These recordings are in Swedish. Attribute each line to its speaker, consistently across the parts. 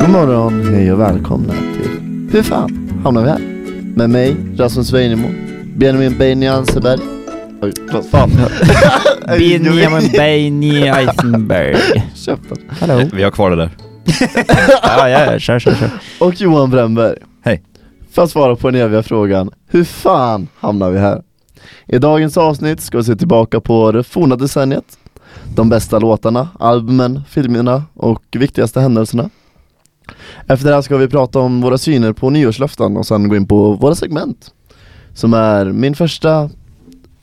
Speaker 1: God morgon, hej och välkomna till Hur fan hamnar vi här? Med mig, Rasmus Weinemo, Benjamin Beini Anseberg. Oj, vad fan.
Speaker 2: Benjamin Beini Eisenberg.
Speaker 1: Käften.
Speaker 2: Hallå.
Speaker 3: Vi har kvar det där.
Speaker 2: Ja, ja, kör, kör, kör.
Speaker 1: Och Johan Bremberg.
Speaker 3: Hej.
Speaker 1: För att svara på den eviga frågan, hur fan hamnar vi här? I dagens avsnitt ska vi se tillbaka på det forna decenniet, de bästa låtarna, albumen, filmerna och viktigaste händelserna. Efter det här ska vi prata om våra syner på nyårslöften och sen gå in på våra segment. Som är min första,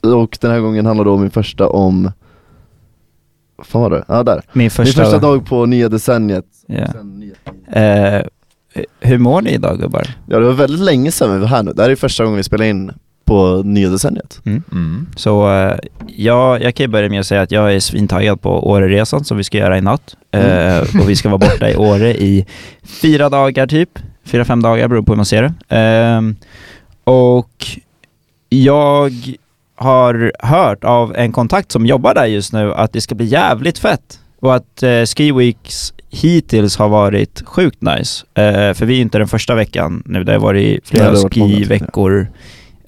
Speaker 1: och den här gången handlar då min första om, vad fan var det? Ja där.
Speaker 2: Min
Speaker 1: Min
Speaker 2: första...
Speaker 1: första dag på nya decenniet.
Speaker 2: Ja.
Speaker 1: Sen nya-
Speaker 2: Eh, hur mår ni idag gubbar?
Speaker 1: Ja det var väldigt länge sedan vi var här nu, det här är första gången vi spelar in på nya decenniet
Speaker 3: Mm.
Speaker 2: Så eh, ja, jag kan ju börja med att säga att jag är svintaggad på Åreresan som vi ska göra i natt. Eh, och vi ska vara borta i Åre i fyra dagar typ. Fyra, fem dagar beror på hur man ser det. Ehm, och jag har hört av en kontakt som jobbar där just nu att det ska bli jävligt fett. Och att eh, Ski Weeks hittills har varit sjukt nice. Eh, för vi är ju inte den första veckan nu, det har varit
Speaker 1: Nej,
Speaker 2: flera
Speaker 1: det har varit många,
Speaker 2: skiveckor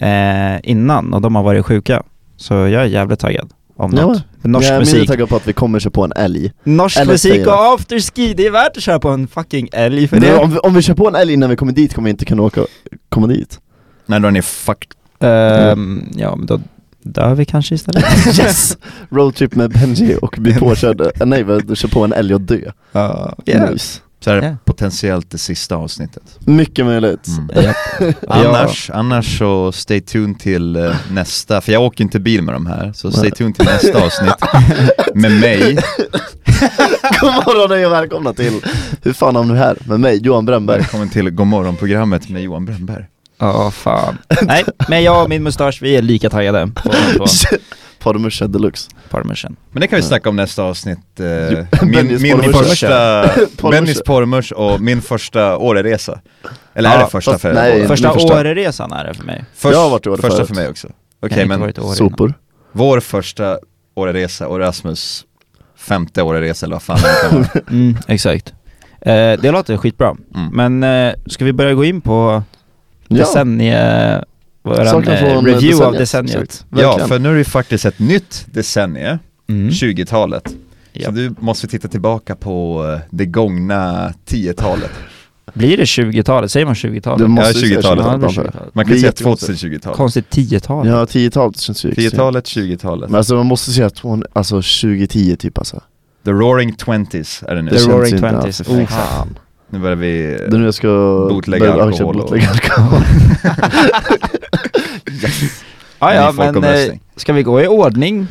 Speaker 2: eh, innan och de har varit sjuka. Så jag är jävligt taggad om
Speaker 1: Ja,
Speaker 2: något. Norsk
Speaker 1: Jag är mindre
Speaker 2: musik.
Speaker 1: taggad på att vi kommer köra på en älg
Speaker 2: Norsk
Speaker 1: Eller
Speaker 2: musik
Speaker 1: säger
Speaker 2: och afterski, det är värt att köra på en fucking älg för
Speaker 1: Nej,
Speaker 2: det.
Speaker 1: om, vi, om vi kör på en älg innan vi kommer dit kommer vi inte kunna åka, komma dit
Speaker 3: Nej, då är ni fucked.
Speaker 2: Ehm, ja, men då dör vi kanske istället.
Speaker 1: Yes! Roadtrip med Benji och bli påkörd, Eh, nej vad- kör på en älg och dö
Speaker 2: Ja,
Speaker 1: nice.
Speaker 3: Så här,
Speaker 2: Ja.
Speaker 3: potentiellt det sista avsnittet.
Speaker 1: Mycket möjligt
Speaker 3: Mm.
Speaker 2: Japp.
Speaker 3: Annars, annars så stay tuned till eh, nästa, för jag åker inte bil med de här, så stay
Speaker 1: Nej.
Speaker 3: tuned till nästa avsnitt med mig.
Speaker 1: God morgon och välkomna till Hur fan hamnar vi här? Med mig, Johan Brännberg
Speaker 3: Välkommen till Godmorgon-programmet med Johan Brännberg.
Speaker 2: Ja, fan. Nej, men jag och min mustasch, vi är lika taggade på, på
Speaker 1: Parmesan deluxe
Speaker 2: parmesan.
Speaker 3: Men det kan vi snacka om nästa avsnitt. Eh, min
Speaker 1: Bennys
Speaker 3: min
Speaker 1: porrmörs.
Speaker 3: första,
Speaker 1: Porrmörs.
Speaker 3: Bennys porrmörs och min första Åreresa. Eller är
Speaker 2: Ja,
Speaker 3: det första
Speaker 1: fast
Speaker 3: för
Speaker 1: nej,
Speaker 3: båda?
Speaker 2: Första
Speaker 1: min första-
Speaker 2: Åreresan är det för mig.
Speaker 3: Först-
Speaker 1: Jag har varit i Åre
Speaker 3: Första
Speaker 1: förut.
Speaker 3: för mig också. Okej
Speaker 2: jag har
Speaker 3: men
Speaker 2: inte varit i Åre innan.
Speaker 1: Sopor
Speaker 3: Vår första Åreresa och Rasmus femte Åreresa eller vad fan det kan vara.
Speaker 2: Mm, exakt. Eh, det låter skitbra.
Speaker 3: Mm.
Speaker 2: Men eh, ska vi börja gå in på decennie... Våran
Speaker 1: Saker
Speaker 2: eh,
Speaker 1: från
Speaker 2: review av
Speaker 1: decenniet,
Speaker 2: decenniet.
Speaker 1: exakt.
Speaker 3: Ja,
Speaker 1: Verkligen.
Speaker 3: för nu är det ju faktiskt ett nytt decennium,
Speaker 2: Mm.
Speaker 3: 20-talet. Så
Speaker 2: Ja.
Speaker 3: du måste titta tillbaka på eh, det gångna 10-talet.
Speaker 2: Blir det 20-talet? Säger man 20-talet?
Speaker 1: Du måste
Speaker 3: Ja,
Speaker 1: ju säga
Speaker 3: 20-talet.
Speaker 2: Ja, det blir
Speaker 1: framför.
Speaker 2: 20-talet.
Speaker 3: Man
Speaker 1: Det
Speaker 3: kan
Speaker 1: är
Speaker 3: säga
Speaker 1: jättekonstigt.
Speaker 3: 2010-talet.
Speaker 2: Konstigt 10-talet.
Speaker 1: Ja, 10-talet känns ju extremt.
Speaker 3: 10-talet, 20-talet.
Speaker 1: Men alltså man måste säga att hon, alltså 2010 typ alltså
Speaker 3: The roaring twenties är det nu.
Speaker 2: The
Speaker 1: känns
Speaker 2: Roaring
Speaker 1: inte
Speaker 2: Twenties.
Speaker 1: alls. Oh,
Speaker 2: Exakt.
Speaker 1: fan.
Speaker 3: Nu börjar vi...
Speaker 1: Det är nu jag ska
Speaker 3: Bootlegga
Speaker 1: börja- ja,
Speaker 3: alkohol
Speaker 1: exakt,
Speaker 3: och-
Speaker 1: bootlegga alkohol.
Speaker 2: Ah,
Speaker 3: Det är
Speaker 2: ja,
Speaker 3: en
Speaker 2: men eh,
Speaker 3: folkomröstning.
Speaker 2: ska vi gå i ordning?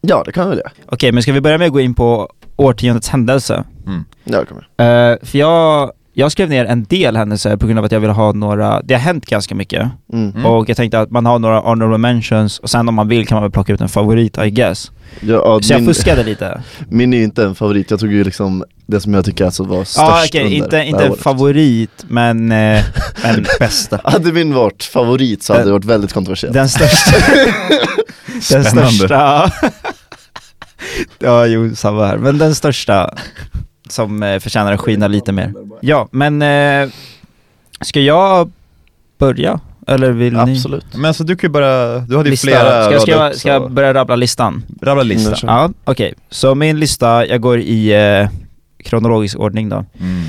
Speaker 1: Ja det kan vi väl göra
Speaker 2: Okej, men ska vi börja med att gå in på årtiondets händelse?
Speaker 3: Mm.
Speaker 1: Ja det kan vi
Speaker 2: Eh, för jag, jag skrev ner en del händelser på grund av att jag ville ha några, det har hänt ganska mycket.
Speaker 1: mm.
Speaker 3: Mm.
Speaker 2: Och jag tänkte att man har några honorable mentions, och sen om man vill kan man väl plocka ut en favorit I guess.
Speaker 1: ja, ja,
Speaker 2: Så jag
Speaker 1: min,
Speaker 2: fuskade lite.
Speaker 1: min är ju inte en favorit, jag tog ju liksom det som jag tycker alltså var störst
Speaker 2: Ja Ah, okej,
Speaker 1: under
Speaker 2: inte,
Speaker 1: det här
Speaker 2: inte en
Speaker 1: året.
Speaker 2: favorit men, eh, men
Speaker 3: Bästa.
Speaker 1: Hade min varit favorit så hade det varit väldigt kontroversiellt
Speaker 2: den största, den största Ja jo, samma här. Men den största som eh, förtjänar att skina lite mer. Ja, men eh, ska jag börja? Eller vill ni?
Speaker 1: Absolut
Speaker 3: Men alltså du kan ju bara, du hade ju
Speaker 2: Lista.
Speaker 3: flera
Speaker 2: ska, jag, ska,
Speaker 3: rader
Speaker 2: jag,
Speaker 3: upp,
Speaker 2: ska jag
Speaker 3: så-
Speaker 2: börja rabbla listan?
Speaker 3: Rabbla lista.
Speaker 1: Mm, kör.
Speaker 2: Ja, okej. Så min lista, jag går i eh, kronologisk ordning då.
Speaker 3: Mm.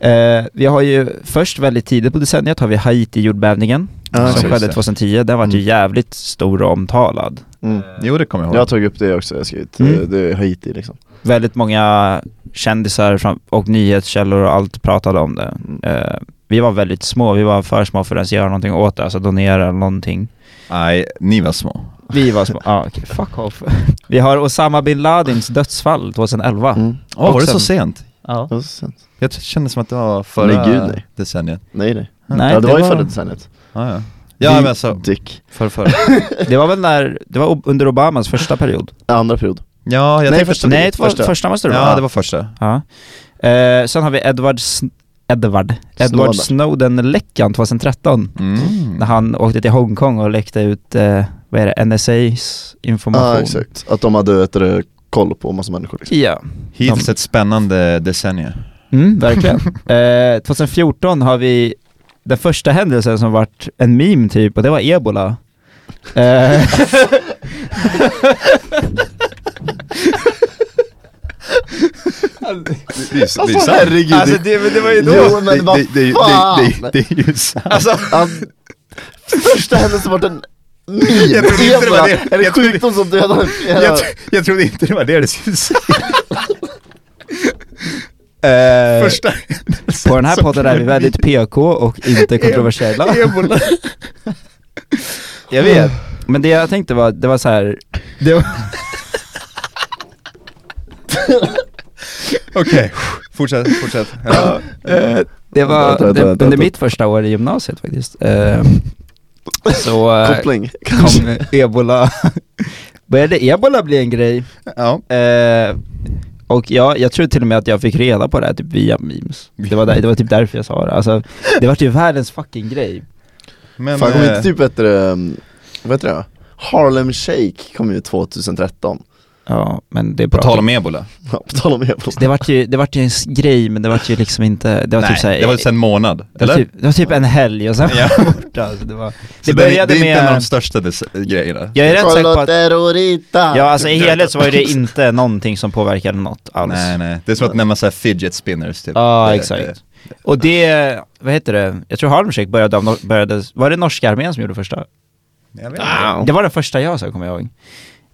Speaker 2: Eh, vi har ju först väldigt tidigt på decenniet har vi Haiti-jordbävningen
Speaker 1: Ja,
Speaker 2: som
Speaker 3: just
Speaker 2: skedde
Speaker 3: det.
Speaker 2: 2010. Den var ju
Speaker 1: Mm.
Speaker 2: jävligt stor och omtalad.
Speaker 1: mm.
Speaker 3: Jo det kommer jag
Speaker 1: Jag har
Speaker 3: ihåg.
Speaker 1: tagit upp det också, jag har skrivit,
Speaker 2: Mm.
Speaker 1: eh, det är Haiti liksom
Speaker 2: Väldigt många kändisar fram- och nyhetskällor och allt pratade om det.
Speaker 1: Mm.
Speaker 2: Eh, vi var väldigt små, vi var för små för att ens göra någonting åt det, alltså donera eller någonting.
Speaker 3: Nej, ni var små.
Speaker 2: Vi var små, ah, okej, fuck off. Vi har Osama bin Ladins dödsfall 2011.
Speaker 1: Mm.
Speaker 3: Åh,
Speaker 2: Och
Speaker 3: var det
Speaker 2: sen-
Speaker 3: så sent?
Speaker 2: Ja.
Speaker 1: Ja, så sent.
Speaker 3: Jag t- kände som att det var förra
Speaker 1: Nej, gud, nej.
Speaker 3: decenniet.
Speaker 1: Nej nej,
Speaker 2: Nej,
Speaker 1: Mm. ja, det,
Speaker 2: det
Speaker 1: var ju
Speaker 2: var-
Speaker 1: förra decenniet
Speaker 3: Ah, ja, ja men alltså,
Speaker 1: Dick,
Speaker 3: för, förra.
Speaker 2: Det var väl när, det var o- under Obamas första period?
Speaker 1: andra period
Speaker 3: Ja, jag
Speaker 1: Nej,
Speaker 3: tänkte...
Speaker 1: första-
Speaker 2: Nej, det var
Speaker 1: första.
Speaker 2: första, måste det vara.
Speaker 3: Ja, det var första.
Speaker 2: Ja. Eh, sen har vi Edward, Sn- Edward,
Speaker 1: Snowden.
Speaker 2: Edward Snowden-läckan 2013.
Speaker 3: Mm.
Speaker 2: När han åkte till Hongkong och läckte ut, eh, vad är det, NSA's
Speaker 1: Ja
Speaker 2: information.
Speaker 1: exakt, att de hade ett, eh, koll på massa människor liksom.
Speaker 2: Ja.
Speaker 3: Hittills ett spännande decennium.
Speaker 2: Mm, verkligen. eh, 2014 har vi den första händelsen som varit en meme typ, och det var ebola. Eh,
Speaker 3: Det, är- det är
Speaker 1: Alltså
Speaker 3: sant.
Speaker 1: herregud,
Speaker 2: alltså det, men det var ju då...
Speaker 1: Jo, men vad
Speaker 3: det, det,
Speaker 1: fan!
Speaker 3: det, det, det, det är ju sant.
Speaker 2: Alltså,
Speaker 1: Alltså, största händelsen vart en meme,
Speaker 3: trodde inte det var
Speaker 1: ebola,
Speaker 3: det.
Speaker 1: är det
Speaker 3: Jag trodde-
Speaker 1: sjukdom som dödar en
Speaker 3: jag,
Speaker 1: fjäril?
Speaker 3: tro- jag trodde inte det var det du skulle säga.
Speaker 2: eh,
Speaker 3: Första
Speaker 2: på den här podden är vi väldigt PK och inte kontroversiella.
Speaker 3: Ebola.
Speaker 2: Jag vet, men det jag tänkte var, det var så här. Det var,
Speaker 3: Okej, fortsätt, fortsätt.
Speaker 2: Ja, eh, det var
Speaker 1: Vänta, vänta,
Speaker 2: det,
Speaker 1: vänta,
Speaker 2: under
Speaker 1: vänta.
Speaker 2: mitt första år i gymnasiet faktiskt. Eh, så eh,
Speaker 1: Koppling,
Speaker 2: kom ebola, började ebola bli en grej.
Speaker 3: Ja.
Speaker 2: Eh, och jag, jag tror till och med att jag fick reda på det här typ via memes. Det var, där, det var typ därför jag sa det. Alltså, det var ju världens fucking grej.
Speaker 3: Men,
Speaker 1: fan kom
Speaker 3: eh,
Speaker 1: inte typ bättre, um, vad heter det? Harlem Shake kom ju 2013,
Speaker 2: Ja, men det är
Speaker 3: på
Speaker 2: bra.
Speaker 3: tal om ebola.
Speaker 1: Ja, på tal om ebola
Speaker 2: Det vart ju, det vart ju en s- grej, men det vart ju liksom inte, det var
Speaker 3: Nej,
Speaker 2: typ såhär,
Speaker 3: det var sedan en månad,
Speaker 2: det var
Speaker 3: eller?
Speaker 2: typ, det var typ en helg och sen var
Speaker 3: Ja.
Speaker 2: jag borta. Alltså, det var,
Speaker 3: Så
Speaker 2: det
Speaker 3: den är-
Speaker 2: började
Speaker 3: det är inte en av de
Speaker 2: med,
Speaker 3: största des- grejerna.
Speaker 2: jag är rätt säker på att
Speaker 1: terrorita!
Speaker 2: Ja alltså i helhet så var ju det inte någonting som påverkade något alls.
Speaker 3: Nej, nej. Det är som att nämna såhär fidget spinners typ.
Speaker 2: Ja
Speaker 3: Det-
Speaker 2: exakt. Och det, vad heter det, jag tror Harlem Shake började, av no- började, var det norska armén som gjorde första?
Speaker 3: det- Jag vet inte.
Speaker 1: Ah.
Speaker 2: Det var den första jag sa kommer jag ihåg.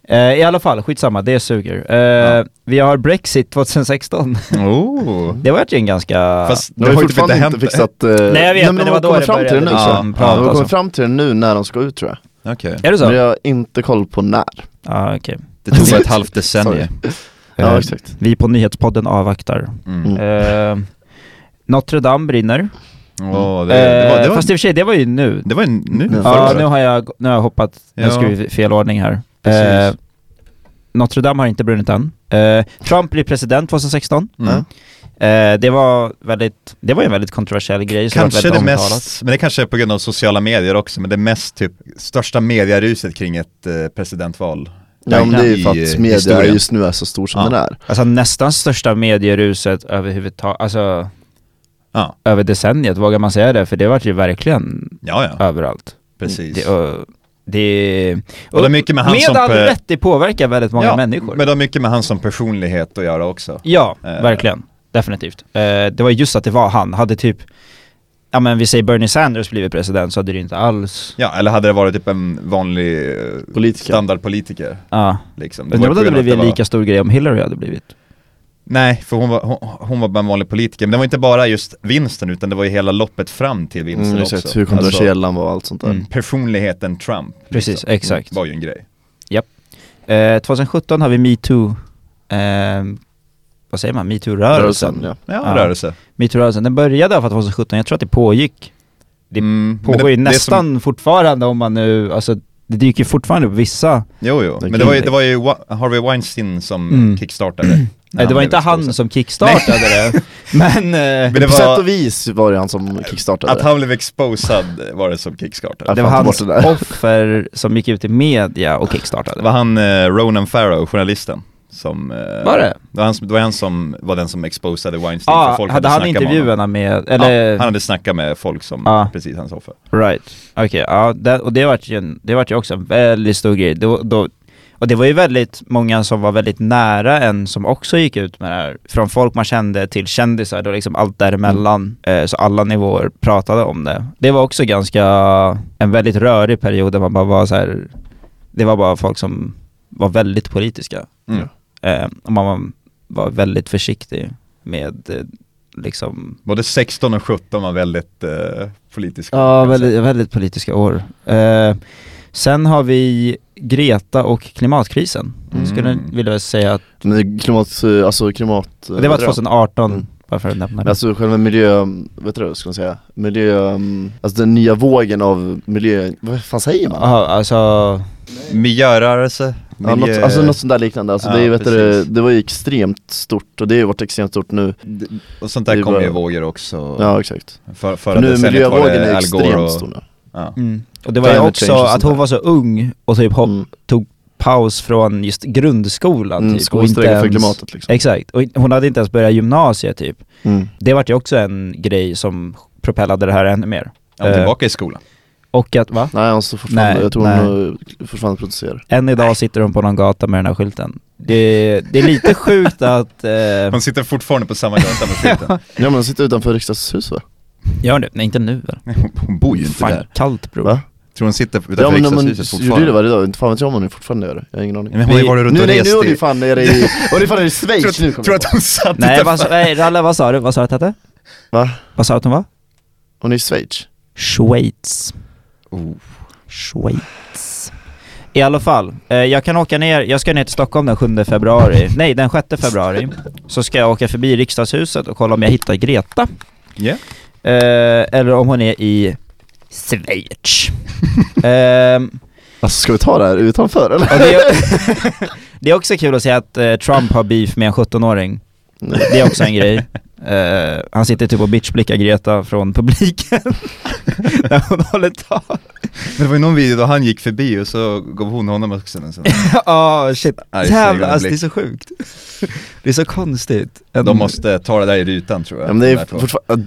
Speaker 2: Eh, I alla fall, skitsamma, det suger. Eh,
Speaker 3: Ja.
Speaker 2: Vi har Brexit 2016.
Speaker 3: Oh.
Speaker 2: Det var ju en ganska...
Speaker 3: Fast
Speaker 1: De har ju fortfarande inte,
Speaker 3: typ hänt.
Speaker 1: fixat... eh,
Speaker 2: typ Nej jag vet, men,
Speaker 1: de
Speaker 2: det
Speaker 1: har
Speaker 2: var då
Speaker 1: kommit
Speaker 2: det
Speaker 1: fram till det
Speaker 2: började
Speaker 1: nu
Speaker 2: liksom
Speaker 1: tror jag. De har
Speaker 2: prata
Speaker 3: Ja,
Speaker 2: och
Speaker 1: kommit
Speaker 2: sånt.
Speaker 1: fram till det nu när de ska ut tror jag.
Speaker 3: Okej.
Speaker 2: Är det så?
Speaker 1: Men jag
Speaker 2: Ja
Speaker 1: har inte koll på när.
Speaker 2: okej.
Speaker 3: Det tog bara ett halvt decennium.
Speaker 1: Sorry. Ja,
Speaker 2: Eh,
Speaker 1: exakt.
Speaker 2: Vi på Nyhetspodden avvaktar.
Speaker 3: Mm.
Speaker 2: Eh, Notre Dame brinner.
Speaker 3: Åh, det, det,
Speaker 2: Eh,
Speaker 3: var, det,
Speaker 2: Fast i
Speaker 3: var,
Speaker 2: och för sig, det var ju nu.
Speaker 3: det var ju nu
Speaker 1: Ja,
Speaker 3: förra
Speaker 2: Ja,
Speaker 3: året.
Speaker 2: nu har jag, nu har jag hoppat, nu
Speaker 3: Ja.
Speaker 2: ska vi i fel ordning här.
Speaker 3: Precis.
Speaker 2: Eh, Notre Dame har inte brunnit än. Eh, Trump blir president 2016.
Speaker 3: Mm.
Speaker 2: Eh, det var väldigt, det var ju en väldigt kontroversiell grej. som var
Speaker 3: Kanske
Speaker 2: väldigt
Speaker 3: det
Speaker 2: omtalat.
Speaker 3: mest, men det kanske är på grund av sociala medier också, men det mest typ största medieruset kring ett eh, presidentval.
Speaker 1: Ja, men det är ju för
Speaker 3: i,
Speaker 1: att
Speaker 3: eh,
Speaker 1: media
Speaker 3: historien.
Speaker 1: just nu är så stor som
Speaker 3: Ja.
Speaker 1: den är.
Speaker 2: Alltså nästan största medieruset överhuvudtaget, alltså
Speaker 3: Ja,
Speaker 2: över decenniet, vågar man säga det? För det vart ju verkligen
Speaker 3: ja, ja
Speaker 2: överallt.
Speaker 3: precis.
Speaker 2: Det, och, det,
Speaker 3: Och det är mycket med han som
Speaker 2: all
Speaker 3: pe-
Speaker 2: rätt, det påverkar väldigt många
Speaker 3: ja,
Speaker 2: människor.
Speaker 3: Men det har mycket med han som personlighet att göra också.
Speaker 2: Ja,
Speaker 3: Eh.
Speaker 2: verkligen. Definitivt. Eh, det var just att det var han. Hade typ, ja men vi säger Bernie Sanders blivit president så hade det ju inte alls...
Speaker 3: Ja, eller hade det varit typ en vanlig eh,
Speaker 1: Politiker.
Speaker 3: standardpolitiker
Speaker 2: Ja.
Speaker 3: liksom.
Speaker 2: Undrar
Speaker 3: var
Speaker 2: om
Speaker 3: på
Speaker 2: det hade
Speaker 3: grund av
Speaker 2: blivit en
Speaker 3: var-
Speaker 2: lika stor grej om Hillary hade blivit.
Speaker 3: Nej, för hon var, hon, hon var bara en vanlig politiker. Men det var inte bara just vinsten, utan det var ju hela loppet fram till vinsten
Speaker 1: Mm,
Speaker 3: också. Alltså,
Speaker 1: exakt, hur kontroversiell han var och allt sånt där.
Speaker 2: Mm.
Speaker 3: personligheten Trump. liksom. Mm,
Speaker 2: Precis, exakt.
Speaker 3: Var ju en grej.
Speaker 2: Eh, 2017 har vi metoo, eh, vad säger man, metoo-rörelsen.
Speaker 1: Rörelsen, ja.
Speaker 3: Ja,
Speaker 2: Ja.
Speaker 3: rörelse.
Speaker 2: Metoo-rörelsen, den började i alla fall 2017, jag tror att det pågick. Det
Speaker 3: Mm, men
Speaker 2: Pågår
Speaker 3: det-
Speaker 2: ju
Speaker 3: det som-
Speaker 2: nästan fortfarande om man nu, alltså det dyker ju fortfarande upp vissa.
Speaker 3: Jo, jo.
Speaker 1: Det
Speaker 3: Men det var ju,
Speaker 2: kan-
Speaker 3: det var ju Wa- Harvey Weinstein som
Speaker 2: Mm.
Speaker 3: kickstartade. när
Speaker 2: Nej, det
Speaker 3: han
Speaker 2: var
Speaker 3: blev
Speaker 2: inte han
Speaker 3: exposed.
Speaker 2: som kickstartade det, men... eh,
Speaker 3: Men det
Speaker 1: På sätt
Speaker 3: var
Speaker 1: och vis var det han som kickstartade.
Speaker 3: att han blev exposad var det som kickstartade.
Speaker 1: Ja,
Speaker 2: Det
Speaker 1: fan,
Speaker 2: var
Speaker 1: ta
Speaker 2: hans
Speaker 1: bort det där.
Speaker 2: offer som gick ut i media och kickstartade.
Speaker 3: Det var han eh, Ronan Farrow, journalisten, som... eh,
Speaker 2: Var det?
Speaker 3: Det var, han, som- det var han som var den som exposade Weinstein för
Speaker 2: Ja,
Speaker 3: folk
Speaker 2: hade han
Speaker 3: snackat med honom.
Speaker 2: intervjuerna med,
Speaker 3: Ja,
Speaker 2: eller?
Speaker 3: han hade snackat med folk som,
Speaker 2: Ja.
Speaker 3: precis hans offer.
Speaker 2: Right. Okej, ja, det, och det vart ju, en- det vart ju också en väldigt stor grej. Då, då, och det var ju väldigt många som var väldigt nära en som också gick ut med det här. Från folk man kände till kändisar, då liksom allt däremellan. Eh, så alla nivåer pratade om det. Det var också ganska, en väldigt rörig period där man bara var så här. det var bara folk som var väldigt politiska.
Speaker 3: Mm.
Speaker 2: Eh, och man var, var väldigt försiktig med eh, liksom
Speaker 3: Både 16 och 17 var väldigt eh, politiska.
Speaker 2: Ja,
Speaker 3: kan jag säga.
Speaker 2: väldigt, väldigt politiska år. Eh, sen har vi Greta och klimatkrisen.
Speaker 3: Mm.
Speaker 2: Skulle vilja väl säga att
Speaker 1: Men klimat, eh, alltså klimat... eh,
Speaker 2: det var
Speaker 1: vad heter
Speaker 2: 2018,
Speaker 1: Mm.
Speaker 2: bara för att nämna
Speaker 1: Men
Speaker 2: det.
Speaker 1: Alltså själva miljö, vet du vad ska man säga? Miljö, mm, alltså den nya vågen av miljö, vad fan säger man?
Speaker 2: Aha, alltså,
Speaker 3: Miljörörelse,
Speaker 1: Ja, något,
Speaker 3: miljö-
Speaker 1: alltså något sånt där liknande, alltså
Speaker 3: Ja,
Speaker 1: det, är, vet du,
Speaker 3: precis.
Speaker 1: det var ju extremt stort och det har ju varit extremt stort nu
Speaker 3: d- och sånt där
Speaker 1: Det
Speaker 3: kommer
Speaker 1: var-
Speaker 3: ju i vågor också.
Speaker 1: Ja exakt
Speaker 3: För, förra
Speaker 1: För nu
Speaker 3: decenniet var
Speaker 1: miljövågen
Speaker 3: det
Speaker 1: är
Speaker 3: Al Gore
Speaker 1: extremt
Speaker 3: och-
Speaker 1: stor nu
Speaker 3: Ja.
Speaker 2: mm. och det var ju
Speaker 1: Climate
Speaker 2: också
Speaker 1: change och
Speaker 2: att
Speaker 1: sånt
Speaker 2: hon
Speaker 1: där.
Speaker 2: var så ung och typ hopp,
Speaker 1: Mm.
Speaker 2: paus från just grundskolan
Speaker 1: Mm,
Speaker 2: typ. och inte
Speaker 1: Skolstrejken för
Speaker 2: ens-
Speaker 1: klimatet liksom.
Speaker 2: Exakt, och hon hade inte ens börjat gymnasiet typ.
Speaker 1: Mm.
Speaker 2: Det vart ju också en grej som propellade det här ännu mer.
Speaker 3: Är
Speaker 1: Eh.
Speaker 3: hon tillbaka i skolan?
Speaker 2: Och att, va?
Speaker 1: Nej, hon står fortfarande,
Speaker 2: Nej,
Speaker 1: jag tror
Speaker 2: nej.
Speaker 1: hon eh, fortfarande producerar.
Speaker 2: Än idag sitter hon på någon gata med den här skylten. Det, det är lite sjukt att... Eh,
Speaker 3: Hon sitter fortfarande på samma gata med skylten.
Speaker 1: Ja men hon sitter utanför riksdagshuset va?
Speaker 2: gör det? Nej inte nu väl?
Speaker 3: Nej, hon- Hon bor ju inte
Speaker 2: Fan,
Speaker 3: där.
Speaker 2: kallt bror.
Speaker 1: Va?
Speaker 3: Tror hon sitter utanför
Speaker 1: Ja men hon
Speaker 3: riksdagshuset
Speaker 1: gjorde ju det
Speaker 3: fortfarande?
Speaker 1: varje dag, inte fan vet jag om hon fortfarande gör det, jag har ingen aning
Speaker 3: Men hon har ju
Speaker 2: Vi-
Speaker 3: varit runt
Speaker 1: Nu,
Speaker 3: och
Speaker 1: nej, nu
Speaker 3: rest
Speaker 1: är hon
Speaker 3: i...
Speaker 1: ju fan nere i, hon är fan nere i Schweiz nu
Speaker 3: Tror,
Speaker 1: kommer
Speaker 3: tror
Speaker 1: jag
Speaker 3: att hon satt
Speaker 2: Nej,
Speaker 3: utanför?
Speaker 2: vad, sa- nej Ralle vad sa du? Vad sa du att det hette?
Speaker 1: Va?
Speaker 2: Vad sa du att hon var?
Speaker 1: Hon är i Schweiz
Speaker 2: Schweiz.
Speaker 3: Oh.
Speaker 2: Schweiz. I alla fall, eh, jag kan åka ner, jag ska ner till Stockholm den 7 februari, nej den 6 februari, så ska jag åka förbi riksdagshuset och kolla om jag hittar Greta.
Speaker 3: Ja.
Speaker 2: Eh, eller om hon är i Schweiz. Ehm,
Speaker 1: Alltså ska vi ta det här utanför eller?
Speaker 2: och det, är, det är också kul att se att eh, Trump har beef med en 17-åring.
Speaker 1: Nej.
Speaker 2: Det är också en grej. Eh, han sitter typ och bitchblickar Greta från publiken när hon håller tal.
Speaker 3: Men det var ju någon video då han gick förbi och så gav hon honom också en sån.
Speaker 2: Ja, shit.
Speaker 3: Arg
Speaker 2: Jävlar,
Speaker 3: ögonblick.
Speaker 2: alltså det är så sjukt. Det är så konstigt. En-
Speaker 3: De måste ta det där i rutan tror jag.
Speaker 1: Ja, men det
Speaker 3: de
Speaker 1: är
Speaker 3: här två.
Speaker 1: fortfarande,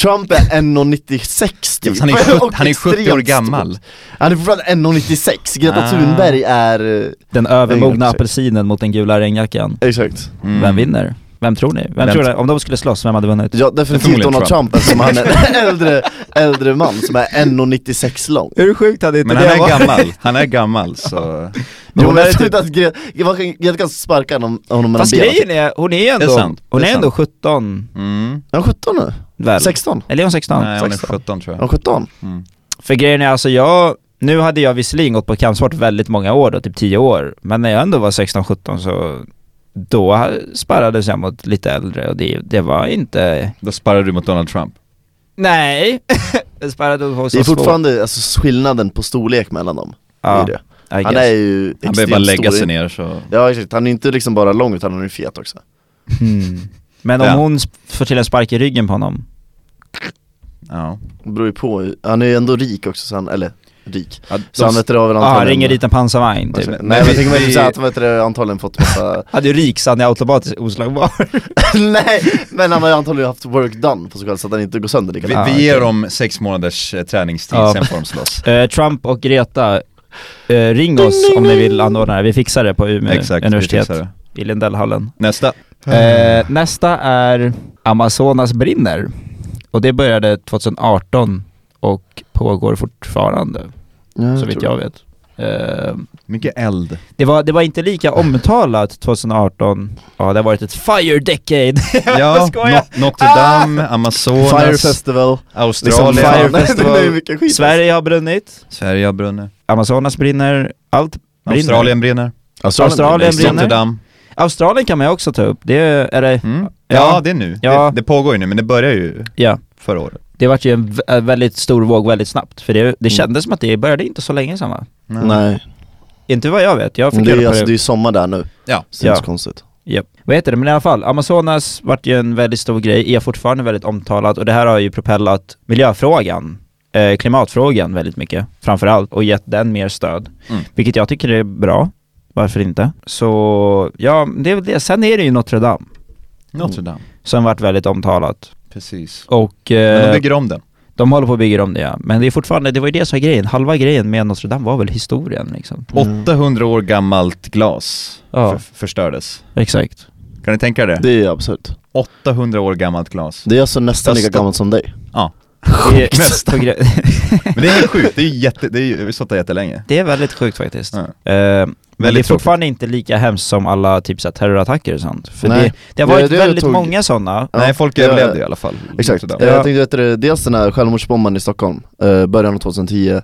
Speaker 1: Trump är 1,96 typ
Speaker 3: Han är, 70,
Speaker 1: Och
Speaker 3: han är 70 år
Speaker 1: extremt
Speaker 3: gammal.
Speaker 1: stor. Han är fortfarande 1,96, Greta
Speaker 3: Ah.
Speaker 1: Thunberg är, eh,
Speaker 2: Den övermogna
Speaker 1: Nej,
Speaker 2: apelsinen mot den gula regnjackan.
Speaker 1: exakt
Speaker 3: Mm.
Speaker 2: Vem vinner? Vem tror ni? Vem,
Speaker 3: Vem
Speaker 2: tror ni? Om de skulle slåss, vem hade vunnit?
Speaker 1: Ja definitivt
Speaker 3: Förmodligen
Speaker 1: Donald Trump,
Speaker 3: Trump.
Speaker 1: eftersom han är en äldre, äldre man som är 1,96 lång
Speaker 2: Hur sjukt hade inte
Speaker 3: Men han är gammal, han är gammal så...
Speaker 1: Jo,
Speaker 2: hon
Speaker 1: men
Speaker 2: är
Speaker 1: jag tror
Speaker 2: typ-
Speaker 1: inte att Greta, Greta kan sparka honom, honom mellan
Speaker 2: Fast
Speaker 1: benen
Speaker 2: grejen är, hon är ju
Speaker 3: Det är
Speaker 2: ändå,
Speaker 3: sant,
Speaker 2: hon
Speaker 3: det
Speaker 2: är
Speaker 3: är
Speaker 2: ändå 17
Speaker 3: Mm.
Speaker 1: Är han 17 nu?
Speaker 2: väl?
Speaker 1: 16?
Speaker 2: Eller är hon 16?
Speaker 3: Nej hon är
Speaker 1: 16.
Speaker 3: 17 tror
Speaker 1: Är
Speaker 3: jag.
Speaker 1: han 17?
Speaker 3: Mm.
Speaker 2: För grejen är alltså jag, nu hade jag visserligen gått på kampsport väldigt många år då, typ 10 år, men när jag ändå var 16-17 så då sparrades jag mot lite äldre och det, det var inte...
Speaker 3: Då sparrar du mot Donald Trump.
Speaker 2: Nej! jag sparrade mot
Speaker 1: Det
Speaker 2: folk som
Speaker 1: är
Speaker 2: var små.
Speaker 1: fortfarande alltså, skillnaden på storlek mellan dem, det är
Speaker 2: Ja,
Speaker 1: det.
Speaker 2: I
Speaker 1: Han
Speaker 2: guess.
Speaker 1: är ju
Speaker 3: Han
Speaker 1: extremt
Speaker 3: behöver bara lägga
Speaker 1: stor.
Speaker 3: sig ner så...
Speaker 1: Ja exakt, han är inte liksom bara lång utan han är ju fet också
Speaker 2: Mm. Men om
Speaker 3: Ja.
Speaker 2: hon sp- får till en spark i ryggen på honom,
Speaker 3: Ja.
Speaker 1: Det beror ju på, han är ju ändå rik också så han, eller rik
Speaker 3: Ja,
Speaker 1: Så
Speaker 3: de-
Speaker 1: han vet det, har väl
Speaker 2: ah, han
Speaker 1: antagligen
Speaker 2: ringer dit en pansarvagn typ.
Speaker 1: Nej
Speaker 3: Nej,
Speaker 1: men jag
Speaker 3: vi-
Speaker 1: tänker mig
Speaker 3: vi-
Speaker 1: såhär att han vet det, antagligen fått massa
Speaker 2: Hade ju rik så han är automatiskt oslagbar.
Speaker 1: Nej men han har ju antagligen haft work done på sig själv så att han inte går sönder lika
Speaker 3: Vi,
Speaker 1: lätt
Speaker 2: Ah,
Speaker 3: vi ger
Speaker 2: okej.
Speaker 3: dem sex månaders eh, träningstid,
Speaker 2: Ja.
Speaker 3: sen får de slåss.
Speaker 2: Eh, Trump och Greta, eh, ring oss om ni vill anordna det. Vi fixar det på Umeå
Speaker 3: Exakt, vi
Speaker 2: universitet,
Speaker 3: fixar det.
Speaker 2: i Lindellhallen.
Speaker 3: Nästa.
Speaker 2: Eh, nästa är Amazonas brinner. Och det började 2018 och pågår
Speaker 1: Mm,
Speaker 2: fortfarande, så vitt jag vet. Eh,
Speaker 3: Mycket eld.
Speaker 2: det, var, det var inte lika omtalat 2018. Ja, det har varit ett fire decade.
Speaker 3: Ja,
Speaker 2: skojar.
Speaker 3: No- Notre Dame, Amazonas,
Speaker 1: Fire festival, Ah! liksom
Speaker 3: Australien,
Speaker 1: fire
Speaker 2: Fire
Speaker 1: festival
Speaker 2: festival.
Speaker 1: Det är mycket skit
Speaker 2: Sverige har brunnit,
Speaker 3: Sverige har brunnit,
Speaker 2: Amazonas brinner, allt brinner.
Speaker 3: Australien brinner,
Speaker 1: Alltså,
Speaker 2: Australien
Speaker 1: brinner.
Speaker 3: Notre Dame.
Speaker 2: Australien kan man ju också ta upp. Det är det,
Speaker 3: Mm.
Speaker 2: Ja.
Speaker 3: Ja. det är nu.
Speaker 2: Ja.
Speaker 3: Det, det pågår ju nu, men det börjar ju
Speaker 2: ja.
Speaker 3: förra året.
Speaker 2: Det vart ju en vä- en väldigt stor våg väldigt snabbt, för det,
Speaker 1: Mm.
Speaker 2: det kändes som att det började inte så länge sedan va?
Speaker 1: Nej,
Speaker 2: Inte vad jag vet, jag
Speaker 1: men
Speaker 2: fick
Speaker 1: det är
Speaker 2: reda
Speaker 1: ju
Speaker 2: på
Speaker 1: alltså, det är
Speaker 2: det.
Speaker 1: ju sommar där nu
Speaker 3: Ja.
Speaker 1: Så det är inte
Speaker 2: Ja.
Speaker 1: så konstigt
Speaker 2: Japp. Vad heter det? Men i alla fall, Amazonas vart ju en väldigt stor grej, är fortfarande väldigt omtalat och det här har ju propellat miljöfrågan, eh, klimatfrågan väldigt mycket framförallt och gett den mer stöd.
Speaker 3: Mm.
Speaker 2: Vilket jag tycker är bra, varför inte? Så ja, det är väl det. Sen är det ju Notre Dame
Speaker 3: Notre Dame,
Speaker 2: som vart väldigt omtalat
Speaker 3: precis.
Speaker 2: och
Speaker 3: Men de
Speaker 2: eh,
Speaker 3: bygger om den.
Speaker 2: De håller på att bygga om det ja, men det är fortfarande, det var ju det som var grejen, halva grejen med Notre Dame var väl historien liksom
Speaker 1: Mm.
Speaker 3: 800 år gammalt glas
Speaker 2: Ja.
Speaker 3: för, förstördes.
Speaker 2: Exakt
Speaker 3: Kan ni tänka er det?
Speaker 1: Det är ju absurt
Speaker 3: 800 år gammalt glas.
Speaker 1: Det är alltså nästan lika
Speaker 3: Öster-
Speaker 1: gammalt som dig
Speaker 3: Nästa. Men det är helt sjukt, det är ju jätte, det är ju, vi har stått där jättelänge.
Speaker 2: Det är väldigt sjukt faktiskt
Speaker 3: Ja.
Speaker 2: Eh, Men det är
Speaker 3: Väldigt
Speaker 2: fortfarande inte lika hemskt som alla typ så här, terrorattacker och sånt För
Speaker 1: Nej.
Speaker 2: det, det har
Speaker 1: Det-
Speaker 2: varit
Speaker 1: det
Speaker 2: väldigt
Speaker 1: tog-
Speaker 2: många sådana
Speaker 1: Ja,
Speaker 3: Nej, folk
Speaker 1: det-
Speaker 3: överlevde i alla fall.
Speaker 1: Exakt, Eh,
Speaker 3: Notre Dame.
Speaker 1: jag
Speaker 2: Ja.
Speaker 1: tänkte vet du, dels den här självmordsbombaren i Stockholm, eh, början av 2010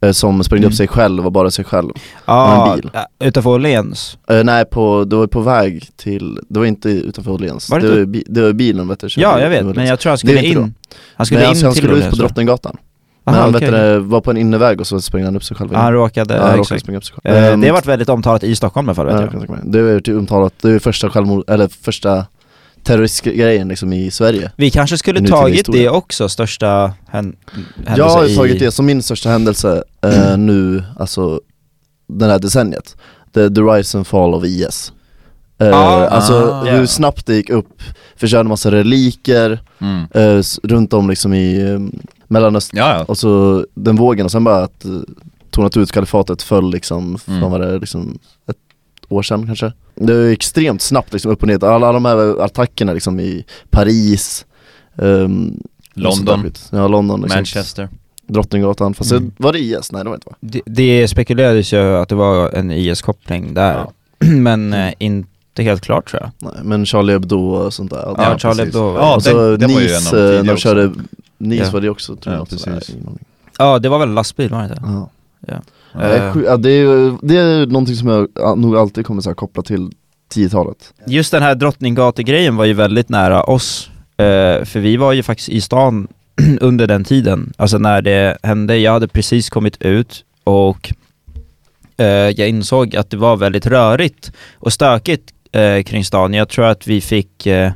Speaker 1: eh, Som sprängde upp sig själv och bara sig själv
Speaker 2: Ja,
Speaker 1: en bil.
Speaker 2: ja, utanför Åhléns
Speaker 1: Eh, Nej, på, det var på väg till, det var inte utanför Åhléns,
Speaker 2: Var
Speaker 1: det,
Speaker 2: det
Speaker 1: det, var, bi- det var bilen vet du körde
Speaker 2: Ja
Speaker 1: in
Speaker 2: jag
Speaker 1: i
Speaker 2: vet,
Speaker 1: Åhléns.
Speaker 2: men jag tror han
Speaker 1: Det är
Speaker 2: skulle
Speaker 1: inte
Speaker 2: in Han skulle
Speaker 1: Nej,
Speaker 2: in
Speaker 1: alltså, han
Speaker 2: till
Speaker 1: skulle ut
Speaker 2: Åhléns,
Speaker 1: på
Speaker 2: tror jag.
Speaker 1: Drottninggatan Men
Speaker 2: Aha,
Speaker 1: han
Speaker 2: okej.
Speaker 1: vet du, var på en inneväg och så sprängde han upp sig själv
Speaker 2: Han
Speaker 1: igen.
Speaker 2: råkade,
Speaker 1: Ja,
Speaker 2: ja,
Speaker 1: han råkade
Speaker 2: exakt.
Speaker 1: springa upp sig
Speaker 2: Eh,
Speaker 1: själv Ehm,
Speaker 2: Det har varit väldigt omtalat i Stockholm i alla fall
Speaker 1: ja, jag
Speaker 2: vet
Speaker 1: kan tänka mig. Det är typ omtalat, det är första självmord, eller första terroristgrejen liksom i Sverige
Speaker 2: Vi kanske skulle
Speaker 1: Nutida
Speaker 2: tagit
Speaker 1: historia.
Speaker 2: det också, största hän- händelse
Speaker 1: Jag har
Speaker 2: i-
Speaker 1: tagit det som min största händelse eh, nu, alltså den här decenniet. The, the rise and fall of IS. Eh,
Speaker 3: Ah,
Speaker 1: alltså
Speaker 3: ah,
Speaker 1: hur
Speaker 2: ja.
Speaker 1: snabbt det gick upp, förtjänade massa reliker
Speaker 3: Mm.
Speaker 1: eh, s- runt om liksom i eh, Mellanöstern
Speaker 3: Ja, ja.
Speaker 1: och så Alltså, den vågen och sen bara att eh, tonat ut kalifatet föll liksom,
Speaker 3: Mm.
Speaker 1: från vad det är, liksom ett år sedan kanske. Det är extremt snabbt liksom upp och ner, alla de här attackerna liksom i Paris, ehm, och sånt där
Speaker 3: London,
Speaker 1: skit. ja, London liksom.
Speaker 3: Manchester.
Speaker 1: Drottninggatan, fast
Speaker 2: Mm.
Speaker 1: det, var det IS? Nej det var inte va?
Speaker 2: Det, det spekulerades ju att det var en IS-koppling där,
Speaker 1: Ja.
Speaker 2: men eh, inte helt klart tror jag.
Speaker 1: Nej, men Charlie Hebdo och sånt där.
Speaker 2: Ja, Charlie
Speaker 3: Ja, precis.
Speaker 2: Hebdo.
Speaker 3: Ja,
Speaker 2: Ja.
Speaker 1: och så
Speaker 3: den- den var ju en av de
Speaker 1: Nice, eh, när
Speaker 3: tidiga
Speaker 1: de körde, Nice
Speaker 2: Ja.
Speaker 1: var det också tror
Speaker 3: Ja,
Speaker 1: jag. alltså, också.
Speaker 3: precis.
Speaker 1: Nej, ingen aning.
Speaker 2: ja, det var väl lastbil var det inte?
Speaker 1: Ja.
Speaker 2: Eh,
Speaker 1: Det är sju- Ja, det, är, ju- det är någonting som jag ja, nog alltid kommer så här, koppla till 10-talet.
Speaker 2: Just den här Drottninggatan-grejen var ju väldigt nära oss, eh, för vi var ju faktiskt i stan under den tiden, alltså när det hände. Jag hade precis kommit ut och eh, jag insåg att det var väldigt rörigt och stökigt eh, kring stan. Jag tror att vi fick, eh,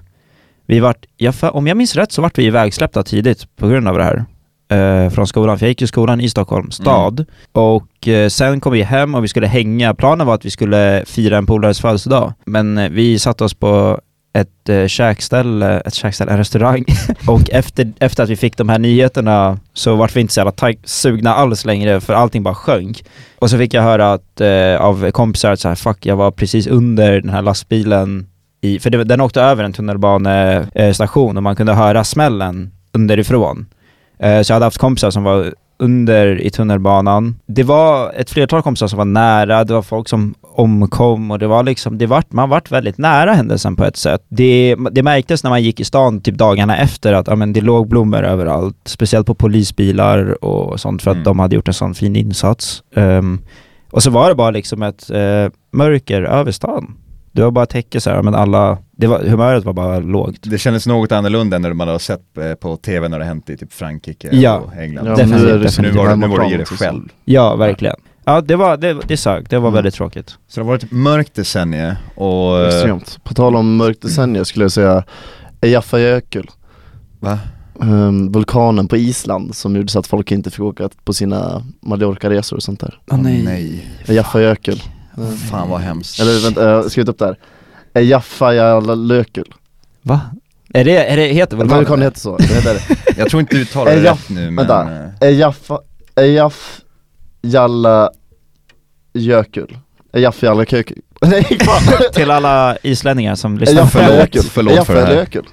Speaker 2: vi vart, jag, fa- om jag minns rätt så vart vi ivägsläppta tidigt på grund av det här. eh, från skolan, för jag gick ju i skolan i Stockholm stad och eh, sen kom vi hem och vi skulle hänga, planen var att vi skulle fira en polares födelsedag men eh, vi satte oss på ett eh, käkställe, ett käkställe, en restaurang och efter, efter att vi fick de här nyheterna så vart vi inte så jävla tag- sugna alls längre för allting bara sjönk. Och så fick jag höra att, eh, av kompisar att så här, fuck jag var precis under den här lastbilen i, för det, den åkte över en tunnelbanestation och man kunde höra smällen underifrån. Eh, så jag hade haft kompisar som var under i tunnelbanan. Det var ett flertal kompisar som var nära, det var folk som omkom och det var liksom, det vart, man vart väldigt nära händelsen på ett sätt. Det, det märktes när man gick i stan typ dagarna efter att ja, men det låg blommor överallt, speciellt på polisbilar och sånt för att
Speaker 3: Mm.
Speaker 2: de hade gjort en sån fin insats. Ehm, och så var det bara liksom ett eh, mörker över stan. Det var bara täcke så här, men alla, det var, humöret var bara lågt.
Speaker 3: Det kändes något annorlunda än när man har sett eh, på tv när det hänt i typ Frankrike
Speaker 2: Ja.
Speaker 3: och England.
Speaker 1: Ja,
Speaker 2: definitivt,
Speaker 1: nu är det liksom
Speaker 2: definitivt.
Speaker 3: Men nu var det- nu var det
Speaker 1: hemmaplan
Speaker 3: i det
Speaker 1: också,
Speaker 3: själv.
Speaker 2: Ja, verkligen. Ja, det var, det, det sög. Det var
Speaker 1: Mm.
Speaker 2: väldigt tråkigt.
Speaker 3: Så det har varit ett mörkt decennium och...
Speaker 1: så-
Speaker 3: eh,
Speaker 1: Extremt. På tal om mörkt decennier skulle jag säga Eyjafjajökull,
Speaker 3: Va?
Speaker 1: ehm, vulkanen på Island som gjorde så att folk inte fick åka på sina Mallorca-resor och sånt där.
Speaker 3: Åh,
Speaker 1: Eyjafjajökull.
Speaker 3: Fan vad hemskt.
Speaker 1: Eller vänta, jag har skrivit upp det här. Eyjafjallajökull.
Speaker 2: Va? Är det, är det, heter
Speaker 1: Men
Speaker 2: vulkanen
Speaker 1: Vulkanen heter så, det heter det.
Speaker 3: Jag tror inte du uttalar
Speaker 1: Eh,
Speaker 3: det
Speaker 1: ja.
Speaker 3: rätt nu men...
Speaker 1: Vänta.
Speaker 3: eh,
Speaker 1: Ejaf, Ejaf, Jalla, Jökull Ejaf, Jalla, Kökul Nej fan!
Speaker 2: Till alla islänningar som lyssnar.
Speaker 1: Ejaf, Jalla,
Speaker 3: förlåt,
Speaker 1: Jökull
Speaker 3: förlåt
Speaker 1: Ejaf,
Speaker 3: för det här.
Speaker 1: Jalla, Jökull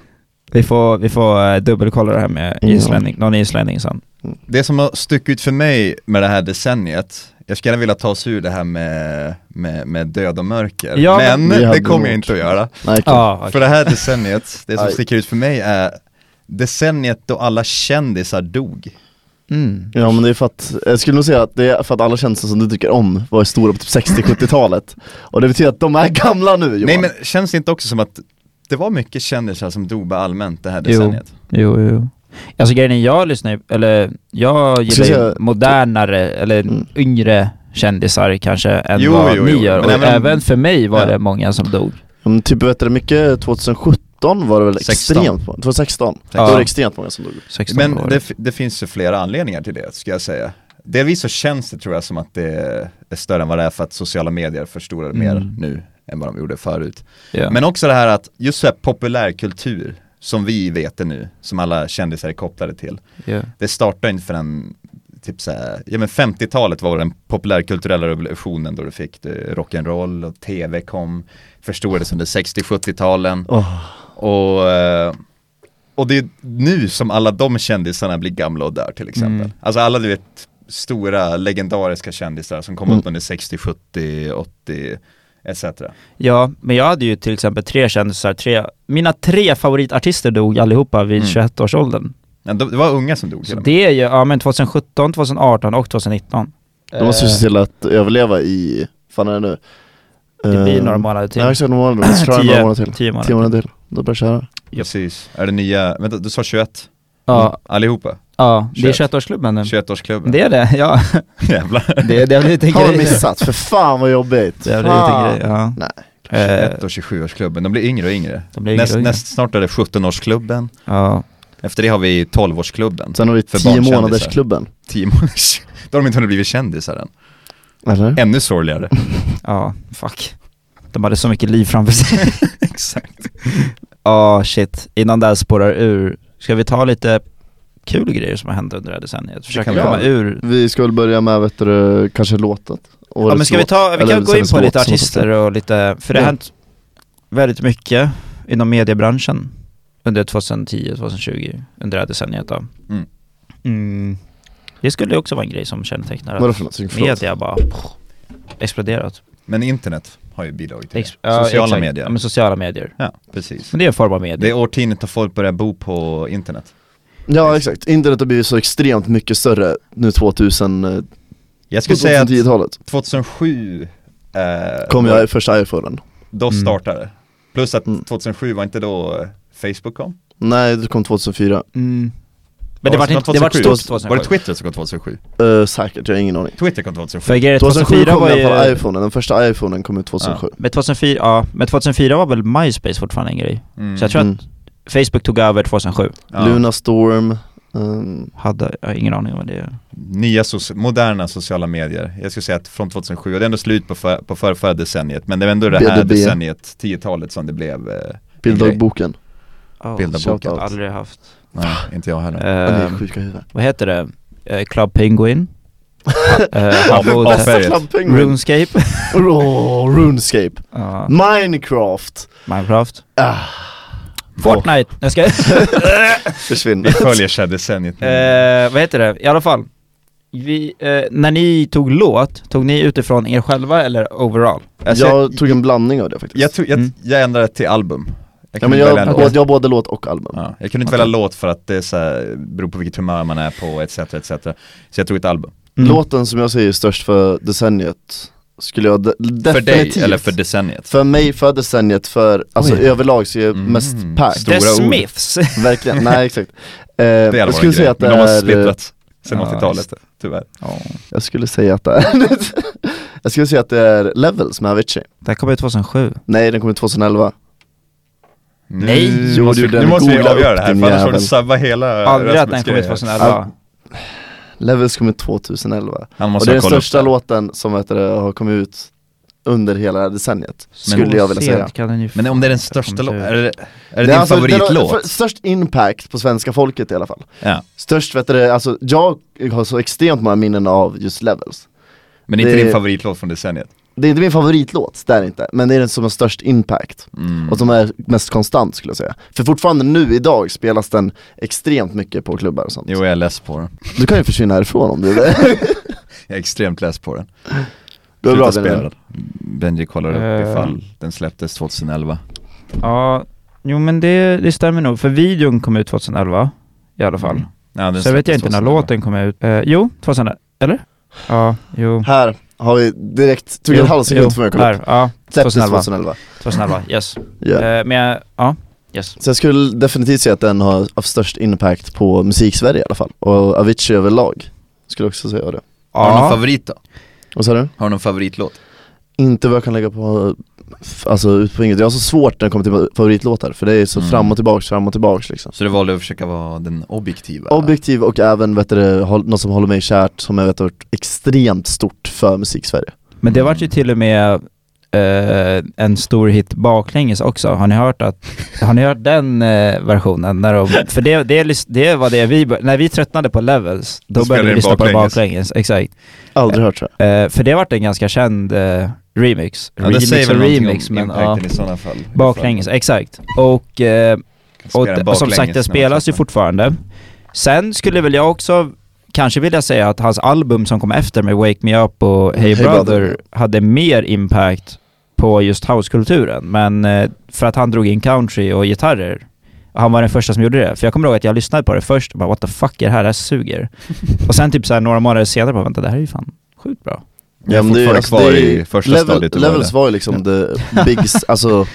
Speaker 2: Vi får, vi får eh, dubbelkolla det här med
Speaker 1: Mm.
Speaker 2: islänning, någon islänning sen.
Speaker 3: Det som har stuckit ut för mig med det här decenniet, jag skulle gärna vilja ta oss ur det här med, med, med död och mörker,
Speaker 2: Ja,
Speaker 3: men
Speaker 1: men- Vi hade
Speaker 3: det kommer jag
Speaker 1: gjort.
Speaker 3: inte att göra.
Speaker 1: Nej, kul.
Speaker 2: Ja, okej.
Speaker 3: För det här decenniet, det som
Speaker 1: Aj.
Speaker 3: sticker ut för mig är decenniet då alla kändisar dog.
Speaker 2: Mm.
Speaker 1: Ja men det är för att, jag skulle nog säga att det är för att alla känslor som du tycker om var stora på typ 60-70-talet Och det betyder att de är gamla nu Johan.
Speaker 3: Nej men känns det inte också som att det var mycket kändisar som dog bara allmänt det här
Speaker 2: Jo.
Speaker 3: decenniet?
Speaker 2: Jo, jo. Alltså grejen är, jag lyssnar ju- eller jag gillar
Speaker 1: Ska
Speaker 2: ju
Speaker 1: jag-
Speaker 2: modernare, eller
Speaker 1: Mm.
Speaker 2: yngre kändisar kanske än
Speaker 3: Jo,
Speaker 2: vad
Speaker 3: jo,
Speaker 2: ni
Speaker 3: jo.
Speaker 2: gör.
Speaker 3: Men
Speaker 2: Och
Speaker 3: även-
Speaker 2: även, för mig var
Speaker 3: Ja.
Speaker 2: det många som dog.
Speaker 1: Ja, men typ vet du mycket, 2017 var det väl
Speaker 3: 16.
Speaker 1: extremt många, 2016?
Speaker 2: Ja.
Speaker 1: Då var det extremt många som dog
Speaker 2: 16
Speaker 3: Men
Speaker 2: år.
Speaker 3: det, f- det finns ju flera anledningar till det, ska jag säga. Delvis så känns det tror jag som att det är större än vad det är för att sociala medier förstorar
Speaker 2: Mm.
Speaker 3: mer nu än vad de gjorde förut.
Speaker 2: ja.
Speaker 3: Men också det här att just så här populärkultur som vi vet det nu, som alla kändisar är kopplade till.
Speaker 2: ja.
Speaker 3: Det startade inte förrän typ så här, ja men 50-talet var den populärkulturella revolutionen då du fick eh, rock'n'roll och tv kom, förstorades under 60-70-talen.
Speaker 1: Åh.
Speaker 3: Och, eh, och det är nu som alla de kändisarna blir gamla och dör till exempel.
Speaker 2: Mm.
Speaker 3: Alltså alla du vet stora legendariska kändisar som kom upp under 60, 70, 80 etc.
Speaker 2: Ja, men jag hade ju till exempel tre kändisar, tre, mina tre favoritartister dog allihopa vid
Speaker 3: Mm.
Speaker 2: 21-årsåldern.
Speaker 3: Men de- Det var unga som dog till
Speaker 2: Så
Speaker 3: och med.
Speaker 2: det är ju, ja men 2017, 2018 och Eh, 2019.
Speaker 1: De måste ju se till att överleva i, fan är det nu?
Speaker 2: Eh, det blir
Speaker 1: Eh,
Speaker 2: några månader till.
Speaker 1: Ja exakt, några månader, så kör jag några
Speaker 2: Tio-
Speaker 1: månader till
Speaker 2: Tio
Speaker 1: Tio
Speaker 2: månader.
Speaker 1: månader till, då börjar jag köra
Speaker 3: Precis. Är det nya, vänta du sa 21?
Speaker 2: Ja,
Speaker 3: Allihopa?
Speaker 2: ja det är
Speaker 3: 21.
Speaker 2: 21-årsklubben nu.
Speaker 3: 21-årsklubben?
Speaker 2: Det är det, ja.
Speaker 3: Jävlar.
Speaker 2: Det, det har blivit en
Speaker 1: Har de
Speaker 2: grej.
Speaker 1: missat? För fan vad jobbigt!
Speaker 2: Det har blivit
Speaker 1: Fan.
Speaker 2: en grej, ja.
Speaker 1: Nej.
Speaker 2: Eh,
Speaker 3: 21 och 27-årsklubben, de blir yngre och yngre.
Speaker 2: de blir
Speaker 3: näst,
Speaker 2: näst,
Speaker 3: näst snart är det 17-årsklubben,
Speaker 2: Ja.
Speaker 3: efter det har vi 12-årsklubben.
Speaker 1: Sen har vi
Speaker 3: För
Speaker 1: 10
Speaker 3: barnkändisar.
Speaker 1: månaders klubben
Speaker 3: 10 månaders. Då har de inte hunnit blivit kändisar än.
Speaker 1: Eller?
Speaker 3: Ännu sorgligare.
Speaker 2: Ja, fuck. De hade så mycket liv framför sig. Exakt. Ja, shit. Innan det här spårar ur, ska vi ta lite kul grejer som har hänt under det här decenniet? Försöka
Speaker 3: kan vi
Speaker 2: komma
Speaker 1: göra.
Speaker 2: ur.
Speaker 1: Vi ska väl börja med, vet du, kanske låtet?
Speaker 2: Ja men ska vi ta, vi
Speaker 1: eller
Speaker 2: kan gå in på
Speaker 1: sämst
Speaker 2: lite
Speaker 1: låt som
Speaker 2: artister och lite, för det har
Speaker 1: Ja.
Speaker 2: hänt väldigt mycket inom mediebranschen under 2010-2020, under det här decenniet då.
Speaker 3: Mm.
Speaker 2: Mm. Det skulle också vara en grej som kännetecknar
Speaker 1: Vadå
Speaker 2: att
Speaker 1: för något? Förlåt.
Speaker 2: media bara pff, exploderat.
Speaker 3: Men internet har ju bidragit till
Speaker 2: Ex-
Speaker 3: det.
Speaker 2: ja,
Speaker 3: Sociala
Speaker 2: exakt.
Speaker 3: medier.
Speaker 2: Ja men sociala medier.
Speaker 3: Ja, precis.
Speaker 2: Men det är en form av media.
Speaker 3: Det är årtiondet då folk börjar bo på internet.
Speaker 1: Ja exakt, internet har blivit så extremt mycket större nu 2000, eh,
Speaker 3: Jag skulle säga att
Speaker 1: 2010-talet
Speaker 3: 2007 eh,
Speaker 1: kom
Speaker 3: då-
Speaker 1: jag i första iPhonen
Speaker 3: då
Speaker 2: Mm.
Speaker 3: startade det. Plus att
Speaker 1: Mm.
Speaker 3: 2007 var inte då eh, Facebook kom.
Speaker 1: Nej, det kom 2004,
Speaker 2: Mm. Men det vart inte, det vart
Speaker 3: 2007?
Speaker 2: stort
Speaker 3: Var
Speaker 2: 2007.
Speaker 3: det Twitter som kom 2007?
Speaker 1: Eh, säkert, jag har ingen aning
Speaker 3: Twitter kom 2007.
Speaker 2: För grejen är
Speaker 1: 2007
Speaker 2: 2004
Speaker 1: kom
Speaker 2: var
Speaker 1: i alla fall
Speaker 2: ju...
Speaker 1: iPhonen, den första iPhonen kom ut 2007
Speaker 2: Men 2004, ja, men 2004 var väl MySpace fortfarande en grej?
Speaker 3: Mm.
Speaker 2: Så jag tror
Speaker 1: Mm.
Speaker 2: att Facebook tog över 2007.
Speaker 3: Ja.
Speaker 1: Luna Storm, ehm,
Speaker 2: Hade, jag har ingen aning om vad det är.
Speaker 3: Nya soci- moderna sociala medier. Jag skulle säga att från 2007, och det är ändå slut på, för, på förra, förra decenniet, men det var ändå det här
Speaker 1: BDB.
Speaker 3: decenniet, 10-talet som det blev. Eh,
Speaker 1: Bilddagboken,
Speaker 2: Oh,
Speaker 3: Bilderboken.
Speaker 1: shoutout.
Speaker 2: Aldrig haft.
Speaker 3: nej, inte jag heller.
Speaker 1: Ja, ni är
Speaker 2: Ah. Eh,
Speaker 1: sjuka i huvudet
Speaker 2: vad heter det? Eh, Club Penguin? uh, Habbo,
Speaker 3: Bästa
Speaker 1: Bästa
Speaker 3: Färget.
Speaker 1: Club Penguin,
Speaker 2: RuneScape?
Speaker 1: Åh, Runescape,
Speaker 2: Ja,
Speaker 1: Minecraft,
Speaker 2: Minecraft?
Speaker 1: Ah.
Speaker 2: Fortnite? Jag ska...
Speaker 1: försvinn
Speaker 3: Vi följer så här decenniet.
Speaker 2: Eh, vad heter det? I alla fall. Vi, eh, när ni tog låt, tog ni utifrån er själva eller overall?
Speaker 3: Alltså,
Speaker 1: Jag tog en blandning av det faktiskt
Speaker 3: Jag, tog, jag,
Speaker 2: Mm.
Speaker 3: jag ändrade till album. Jag
Speaker 1: Ja
Speaker 3: kunde
Speaker 1: men
Speaker 3: välja
Speaker 1: jag,
Speaker 3: en
Speaker 1: både,
Speaker 3: låt.
Speaker 1: jag både låt och album
Speaker 3: Ja, jag kunde inte
Speaker 2: Okej.
Speaker 3: välja låt för att det är så här, beror på vilket humör man är på etc. etc. Så jag tog ett album.
Speaker 2: Mm.
Speaker 1: Låten som jag säger är störst för decenniet skulle jag de-
Speaker 3: För
Speaker 1: definitivt
Speaker 3: dig, eller för decenniet.
Speaker 1: För mig, för decenniet, för, alltså
Speaker 2: Oj.
Speaker 1: överlag så är jag
Speaker 3: Mm.
Speaker 1: mest pack
Speaker 2: The
Speaker 3: Stora ord.
Speaker 2: Smiths!
Speaker 1: Verkligen, nej exakt eh,
Speaker 3: Det
Speaker 1: Jag
Speaker 3: varit
Speaker 1: skulle
Speaker 3: en grej.
Speaker 1: säga att det
Speaker 3: Men de har
Speaker 1: är,
Speaker 3: splittrats sen
Speaker 2: Ja,
Speaker 3: 80-talet, tyvärr.
Speaker 2: Ja.
Speaker 1: jag skulle säga att det är Jag skulle säga att det är Levels med Avicii
Speaker 2: Det här kom ut 2007.
Speaker 1: Nej den kom ut 2011
Speaker 3: Nu
Speaker 2: Nej.
Speaker 1: Jo,
Speaker 3: måste,
Speaker 1: du,
Speaker 3: vi-
Speaker 1: den
Speaker 3: nu måste vi
Speaker 1: googlar
Speaker 3: avgöra
Speaker 1: upp
Speaker 3: det här,
Speaker 1: din
Speaker 3: för annars får du
Speaker 1: jävel.
Speaker 3: sabba hela
Speaker 2: Aldrig att
Speaker 3: Rasmus
Speaker 2: den kom ut
Speaker 3: grej här.
Speaker 2: 2011.
Speaker 1: Levels kom ut 2011
Speaker 3: Han
Speaker 1: Och
Speaker 3: måste
Speaker 1: det är den
Speaker 3: kolla upp
Speaker 1: största
Speaker 3: det.
Speaker 1: låten som vet du, har kommit ut under hela det här decenniet
Speaker 2: Så
Speaker 1: Skulle jag vilja
Speaker 2: sent
Speaker 1: säga
Speaker 2: Kan den ju
Speaker 3: Men om det är den
Speaker 2: fan inte
Speaker 3: största
Speaker 2: ha kommit
Speaker 3: låten,
Speaker 2: ut.
Speaker 1: Det
Speaker 3: är det, är det din
Speaker 1: är alltså- det är
Speaker 3: favoritlåt?
Speaker 1: för- Störst impact på svenska folket i alla fall
Speaker 3: Ja.
Speaker 1: Störst vet du, alltså jag har så extremt många minnen av just Levels
Speaker 3: Men inte
Speaker 1: det-
Speaker 3: din favoritlåt från decenniet?
Speaker 1: Det är inte min favoritlåt, det är det inte, men det är den som har störst impact
Speaker 3: Mm.
Speaker 1: och som är mest konstant skulle jag säga För fortfarande nu idag spelas den extremt mycket på klubbar och sånt
Speaker 3: Jo, jag är less på den.
Speaker 1: Du kan ju försvinna härifrån om du vill
Speaker 3: Jag är extremt less på den.
Speaker 1: Du är bra
Speaker 3: Sluta spela
Speaker 1: Benjamin.
Speaker 3: den. Benji kollar upp
Speaker 2: Eh.
Speaker 3: ifall den släpptes 2011.
Speaker 2: Ja, jo men det, det stämmer nog. För videon kom ut 2011 i alla fall.
Speaker 1: Mm.
Speaker 3: Ja, den
Speaker 2: Sen vet jag
Speaker 3: släpptes
Speaker 2: inte när
Speaker 3: 2011.
Speaker 2: låten kom ut. Eh, jo, 2011. Eller? Ja, jo.
Speaker 1: Här har vi direkt, tog
Speaker 2: Jo,
Speaker 1: en halv
Speaker 2: jo,
Speaker 1: sekund för mig att kolla upp
Speaker 2: Här, ja.
Speaker 1: Släpptes
Speaker 2: 2011.
Speaker 1: 2011
Speaker 2: 2011, yes.
Speaker 1: Ja.
Speaker 2: Eh, men jag, ja, yes.
Speaker 1: Så jag skulle definitivt säga att den har av störst impact på musik-Sverige i alla fall Och Avicii överlag, skulle jag också säga det
Speaker 3: Har du någon
Speaker 2: Ja,
Speaker 3: favorit då?
Speaker 1: Vad sa du?
Speaker 3: Har du någon favoritlåt?
Speaker 1: Inte vad jag kan lägga på, f- alltså ut på inget. Jag har så svårt när det kommer till favoritlåtar för det är så
Speaker 3: Mm.
Speaker 1: fram och tillbaks, fram och tillbaks liksom
Speaker 3: Så du valde att försöka vara den objektiva?
Speaker 1: Objektiv och även vet du, håll- något som håller mig kärt som jag vet har varit extremt stort för musik-Sverige
Speaker 2: men det vart ju till och med eh, en stor hit baklänges också. Har ni hört, att, har ni hört den eh, versionen? När de, för det, det, lys- det var det vi bör, när vi tröttnade på Levels, då
Speaker 3: Då spelade
Speaker 2: började vi
Speaker 3: ni
Speaker 2: lyssna på den
Speaker 3: baklänges.
Speaker 2: baklänges. Exakt.
Speaker 1: Aldrig hört tror jag
Speaker 2: Eh, för det vart en ganska känd eh, remix.
Speaker 3: Ja, det säger
Speaker 2: remix och
Speaker 3: väl
Speaker 2: remix,
Speaker 3: remix, om
Speaker 2: men
Speaker 3: impacten
Speaker 2: ja.
Speaker 3: i sådana fall.
Speaker 2: Baklänges, exakt. Och, eh,
Speaker 3: Kan
Speaker 2: och,
Speaker 3: spela
Speaker 2: och som
Speaker 3: baklänges
Speaker 2: sagt,
Speaker 3: när
Speaker 2: det
Speaker 3: man
Speaker 2: spelas ju
Speaker 3: träffar.
Speaker 2: fortfarande. Sen skulle väl jag också kanske vilja säga att hans album som kom efter med Wake Me Up och Hey,
Speaker 1: Hey
Speaker 2: Brother,
Speaker 1: Brother.
Speaker 2: hade mer impact på just housekulturen. Men eh, för att han drog in country och gitarrer. Han var den första som gjorde det. För jag kommer ihåg att jag lyssnade på det först och bara what the fuck är det här? Det här suger. och sen typ så här, några månader senare bara vänta det här är ju fan sjukt bra.
Speaker 3: Jag är fortfarande
Speaker 1: alltså,
Speaker 3: kvar i första stadiet du var
Speaker 1: Levels
Speaker 3: i.
Speaker 1: var ju liksom the bigs, alltså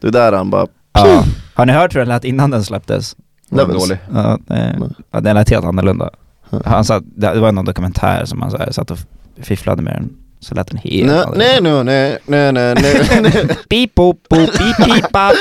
Speaker 1: det är där han bara
Speaker 2: Ja. Har ni hört hur den lät innan den släpptes?
Speaker 3: Var
Speaker 1: Levels.
Speaker 3: dålig.
Speaker 2: Ja, nej. ja, den lät helt annorlunda. Han satt, det var någon dokumentär som han så här, satt och fifflade med den. Så lät den helt
Speaker 1: Nej,
Speaker 2: annorlunda.
Speaker 1: nej, nej, nej, nej, nej, nej, nej.
Speaker 2: Beep, boop, boop, beep, beep, bap.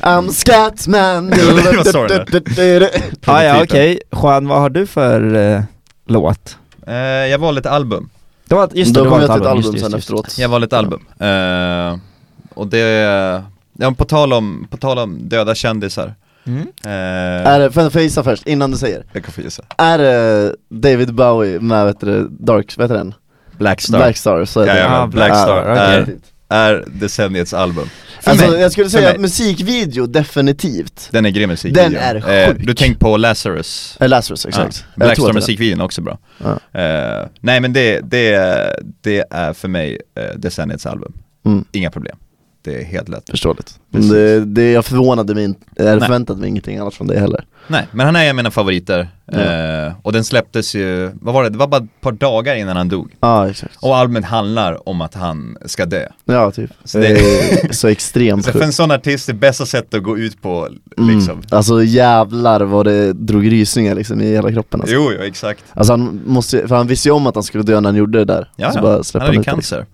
Speaker 1: I'm Scatman
Speaker 3: Vad sa du
Speaker 2: ah, ja, okej. Juan, vad har du för eh, låt?
Speaker 3: Eh, jag valde ett album.
Speaker 2: Det var, just det,
Speaker 1: Då
Speaker 2: det var
Speaker 1: kommer
Speaker 2: ett
Speaker 1: jag till
Speaker 2: album,
Speaker 1: ett album
Speaker 2: just, det, just,
Speaker 1: sen
Speaker 2: det, just, det.
Speaker 1: efteråt
Speaker 3: Jag valde ett album. Eh, och det, ja men på tal om, på tal om döda kändisar.
Speaker 2: Mm.
Speaker 3: eh,
Speaker 1: Är det, för, för jag gissar först, innan du säger
Speaker 3: jag kan få gissa.
Speaker 1: Är det David Bowie med vet du, Dark, vad heter den?
Speaker 3: Blackstar.
Speaker 1: Black Star, så är det
Speaker 3: Ja, ja,
Speaker 2: Ah,
Speaker 3: Black
Speaker 1: Black
Speaker 3: Star Eh,
Speaker 2: Star,
Speaker 3: är,
Speaker 2: okej.
Speaker 3: är decenniets album. För
Speaker 1: Alltså
Speaker 3: mig,
Speaker 1: jag skulle
Speaker 3: för
Speaker 1: säga
Speaker 3: mig.
Speaker 1: att musikvideo definitivt
Speaker 3: Den är grym musik.
Speaker 1: Den är sjuk.
Speaker 3: Du tänk på Lazarus.
Speaker 1: Eller Lazarus exakt
Speaker 3: Ja.
Speaker 1: Jag tror
Speaker 3: Blackstar
Speaker 1: att det är
Speaker 3: musikvideon är också bra.
Speaker 1: Ja.
Speaker 3: Eh, nej men det, det, det är för mig eh, decenniets album.
Speaker 1: den. mm,
Speaker 3: Inga problem. Det är helt lätt.
Speaker 1: Förståeligt Men
Speaker 3: Precis.
Speaker 1: det, det, jag förvånade mig inte, eller
Speaker 3: Nej.
Speaker 1: förväntade mig ingenting annat från det heller
Speaker 3: Nej, men han är en av mina favoriter. Eh, och den släpptes ju, vad var det, det var bara ett par dagar innan han dog.
Speaker 1: Ja exakt
Speaker 3: Och albumet handlar om att han ska dö.
Speaker 1: Ja typ,
Speaker 3: Så
Speaker 1: så,
Speaker 3: det-
Speaker 1: så extremt
Speaker 3: Så för en
Speaker 1: sjukt
Speaker 3: sån artist, det bästa sättet att gå ut på
Speaker 1: mm.
Speaker 3: liksom.
Speaker 1: Alltså jävlar vad det drog rysningar liksom i hela kroppen alltså.
Speaker 3: Jo, jo, exakt.
Speaker 1: alltså han måste, för han visste ju om att han skulle dö när han gjorde det där
Speaker 3: Ja,
Speaker 1: Så
Speaker 3: ja.
Speaker 1: bara
Speaker 3: han
Speaker 1: släppte
Speaker 3: hade ju
Speaker 1: ut det, liksom.
Speaker 3: cancer.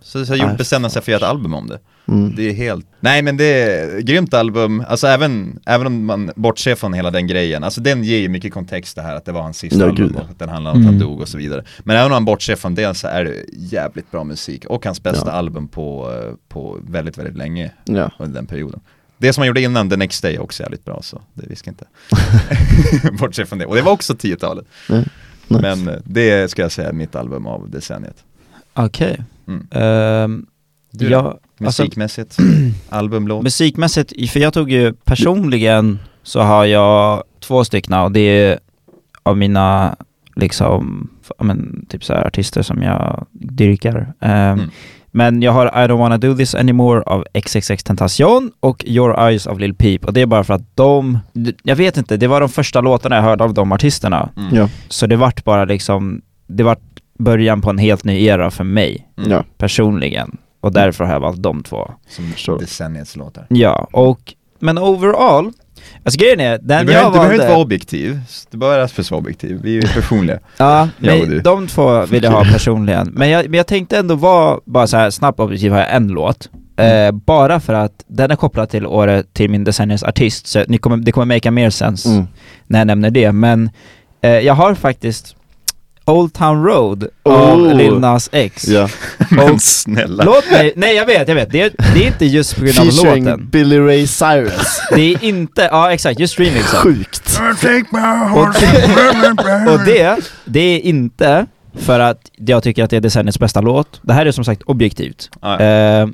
Speaker 3: Så, så gjorde-
Speaker 1: Nej,
Speaker 3: bestämde han sig för att göra ett album om det.
Speaker 1: Mm.
Speaker 3: Det är helt, nej men det är ett grymt album, alltså även, även om man bortser från hela den grejen, alltså den ger ju mycket kontext det här att det var hans sista
Speaker 1: Ja,
Speaker 3: album
Speaker 1: gud.
Speaker 3: och att den handlar om att han
Speaker 2: Mm.
Speaker 3: dog och så vidare. Men även om man bortser från det så är det jävligt bra musik och hans bästa
Speaker 1: Ja.
Speaker 3: album på, eh, på väldigt, väldigt länge
Speaker 1: Ja,
Speaker 3: under den perioden. Det som han gjorde innan, The Next Day, är också jävligt bra så det viskar inte. bortser från det, och det var också 10-talet.
Speaker 1: nice.
Speaker 3: Men eh, det ska jag säga är mitt album av decenniet.
Speaker 2: Okej.
Speaker 3: Mm.
Speaker 2: Ehm,
Speaker 3: Du
Speaker 2: jag, alltså,
Speaker 3: Musikmässigt, album, låt.
Speaker 2: musikmässigt, för jag tog ju personligen så har jag två stycken och det är av mina liksom, f- ja, men, typ så här artister som jag dyrkar. Ehm,
Speaker 3: Mm.
Speaker 2: Men jag har I don't wanna do this anymore av XXX Tentacion och Your Eyes av Lil Peep och det är bara för att de, jag vet inte, det var de första låtarna jag hörde av de artisterna.
Speaker 3: Mm.
Speaker 1: Ja,
Speaker 2: Så det vart bara liksom, det vart början på en helt ny era för mig
Speaker 3: Mm.
Speaker 1: ja,
Speaker 2: personligen. Och därför har jag valt de två.
Speaker 3: Som
Speaker 1: Förstår.
Speaker 3: decenniets låtar.
Speaker 2: Ja, och, men overall, alltså grejen är,
Speaker 3: du
Speaker 2: den
Speaker 3: behöver,
Speaker 2: jag
Speaker 3: inte- du behöver inte vara
Speaker 2: valde...
Speaker 3: objektiv, du behöver Rasmus vara objektiv, vi är ju personliga.
Speaker 2: Ja,
Speaker 3: Jag och du.
Speaker 2: men de två vill jag ha personligen. Men jag, men jag tänkte ändå vara bara så här snabbt objektiv, har jag en låt. Eh,
Speaker 3: Mm.
Speaker 2: bara för att den är kopplad till året, till min decenniums artist, så ni kommer, det kommer make mer sense
Speaker 1: mm.
Speaker 2: när jag nämner det. Men eh, jag har faktiskt Old Town Road
Speaker 1: Oh.
Speaker 2: av Lil Nas X.
Speaker 1: ja.
Speaker 3: Men snälla.
Speaker 2: Låt mig, nej jag vet, jag vet. Det är, det är inte just på grund av låten.
Speaker 1: Featuring Billy Ray Cyrus,
Speaker 2: Det är inte, ja exakt, just streaming så.
Speaker 1: sjukt!
Speaker 2: Och det, det är inte för att jag tycker att det är decenniets bästa låt. Det här är som sagt objektivt.
Speaker 3: Ja, ja.
Speaker 2: Eh,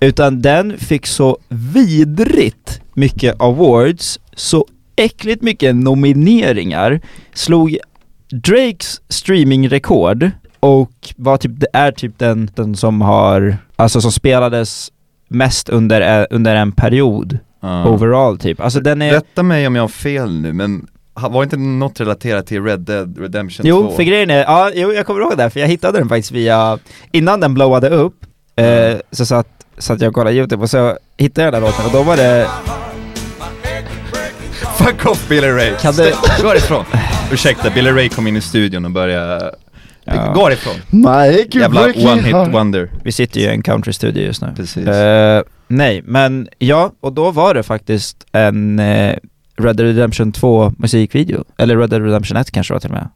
Speaker 2: utan den fick så vidrigt mycket awards, så äckligt mycket nomineringar, slog Drakes streamingrekord och var typ, det är typ den, den som har, alltså som spelades mest under, eh, under en period,
Speaker 3: Ja.
Speaker 2: overall typ. Alltså den är...
Speaker 3: Ah. Rätta mig om jag har fel nu, men ha- var inte något relaterat till Red Dead Redemption 2?
Speaker 2: Jo, för grejen är, ja, jo, jag kommer ihåg det, här, för jag hittade den faktiskt via, innan den blowade upp, eh, så satt, satt jag och kollade YouTube och så hittade jag den här låten och då var det
Speaker 3: Fuck off Billy Ray!
Speaker 2: Kan du-
Speaker 3: Stäng- Gå härifrån! Ursäkta, Billy Ray kom in i studion och började...
Speaker 2: Ja.
Speaker 3: Gå härifrån!
Speaker 1: Mike
Speaker 3: Jävla
Speaker 1: Bucky
Speaker 3: one hit
Speaker 1: har-
Speaker 3: wonder.
Speaker 2: Vi sitter ju i en countrystudio just nu.
Speaker 3: Precis.
Speaker 2: Eh, nej, men ja, och då var det faktiskt en eh, Red Dead Redemption 2 musikvideo. Eller Red Dead Redemption 1 kanske det var till och med.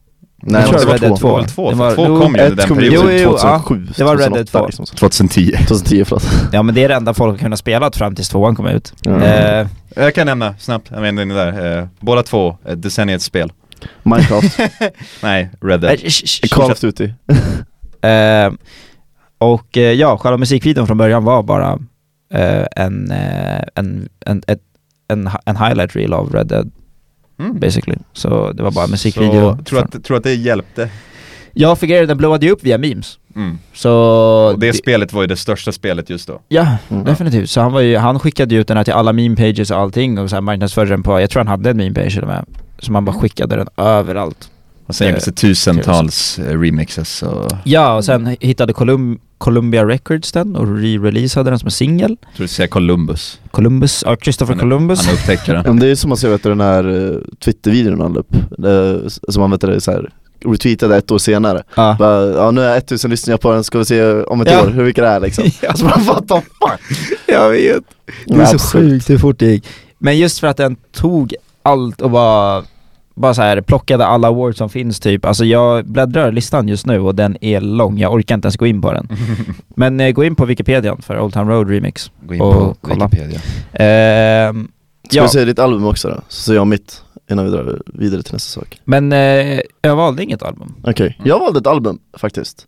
Speaker 1: Nej,
Speaker 2: Jag tror
Speaker 1: det var
Speaker 2: Red Dead
Speaker 1: två.
Speaker 3: Det var väl två?
Speaker 2: Det
Speaker 3: För
Speaker 2: var-
Speaker 3: två
Speaker 2: jo,
Speaker 3: kom ju under
Speaker 1: Ett
Speaker 3: den
Speaker 1: kom ju
Speaker 2: perioden. Jo, jo, jo,
Speaker 1: 2007,
Speaker 2: ja. Det var Red Dead
Speaker 1: 2008,
Speaker 2: två.
Speaker 1: liksom så.
Speaker 3: 2010.
Speaker 1: 2010 förlåt
Speaker 2: Ja men det är det enda folk har kunnat spela fram tills tvåan kom ut.
Speaker 1: Mm.
Speaker 2: Eh,
Speaker 3: Jag kan nämna snabbt, jag menar det där, eh, båda två, eh, decenniets spel.
Speaker 1: Minecraft,
Speaker 3: Nej, Red
Speaker 2: eh,
Speaker 3: Dead.
Speaker 2: sh- sh- sh-
Speaker 1: Call of Duty
Speaker 2: eh, och eh, ja, själva musikvideon från början var bara eh, en, eh, en, en, ett, en, hi- en highlight reel av Red Dead
Speaker 3: Mm.
Speaker 2: basically. Så det var bara en musikvideo.
Speaker 3: Så, tror att, tror att det hjälpte?
Speaker 2: Jag fick den blåade ju upp via memes.
Speaker 3: Mm.
Speaker 2: Så...
Speaker 3: Och det
Speaker 2: det-
Speaker 3: spelet var ju det största spelet just då.
Speaker 2: Ja,
Speaker 1: Mm.
Speaker 2: definitivt. Så han, var ju, han skickade ju ut den här till alla meme pages och allting och så här marknadsförde den på, jag tror han hade en meme page till och med. Så man bara skickade den överallt.
Speaker 3: Och sen
Speaker 2: Eh,
Speaker 3: gjordes det tusentals eh, remixes och...
Speaker 2: Ja, och sen hittade Colum- Columbia Records den och re-releasade den som en singel.
Speaker 3: Jag tror du säger Columbus.
Speaker 2: Columbus, ja Christopher
Speaker 3: Han-
Speaker 2: Columbus.
Speaker 3: Han upptäckte
Speaker 1: Ja,
Speaker 3: den.
Speaker 1: men det är som man ser vet du, den här eh, Twitter-videon han la upp, eh, s- som han vet du, så här, retweetade ett år senare.
Speaker 2: Ja.
Speaker 1: Bara, ja nu är 1000 lyssningar på den, ska vi se om ett
Speaker 2: Ja.
Speaker 1: år hur vilka det är liksom.
Speaker 2: Ja.
Speaker 1: Så man what the fuck?
Speaker 2: Jag vet. Det är så
Speaker 1: Absurd.
Speaker 2: sjukt hur fort det gick. Men just för att den tog allt och bara bara så här, plockade alla awards som finns typ. Alltså jag bläddrar listan just nu och den är lång, jag orkar inte ens gå in på den. Men eh, gå in på Wikipedia för Old Town Road Remix.
Speaker 3: Gå in
Speaker 2: Och
Speaker 3: på
Speaker 2: kolla.
Speaker 3: Wikipedia.
Speaker 2: Ehm,
Speaker 1: Ska
Speaker 2: Ja.
Speaker 1: vi säga ditt album också då? Så säger jag mitt innan vi drar vidare till nästa sak
Speaker 2: men eh, jag valde inget album.
Speaker 1: Okej,
Speaker 3: Mm.
Speaker 1: jag valde ett album faktiskt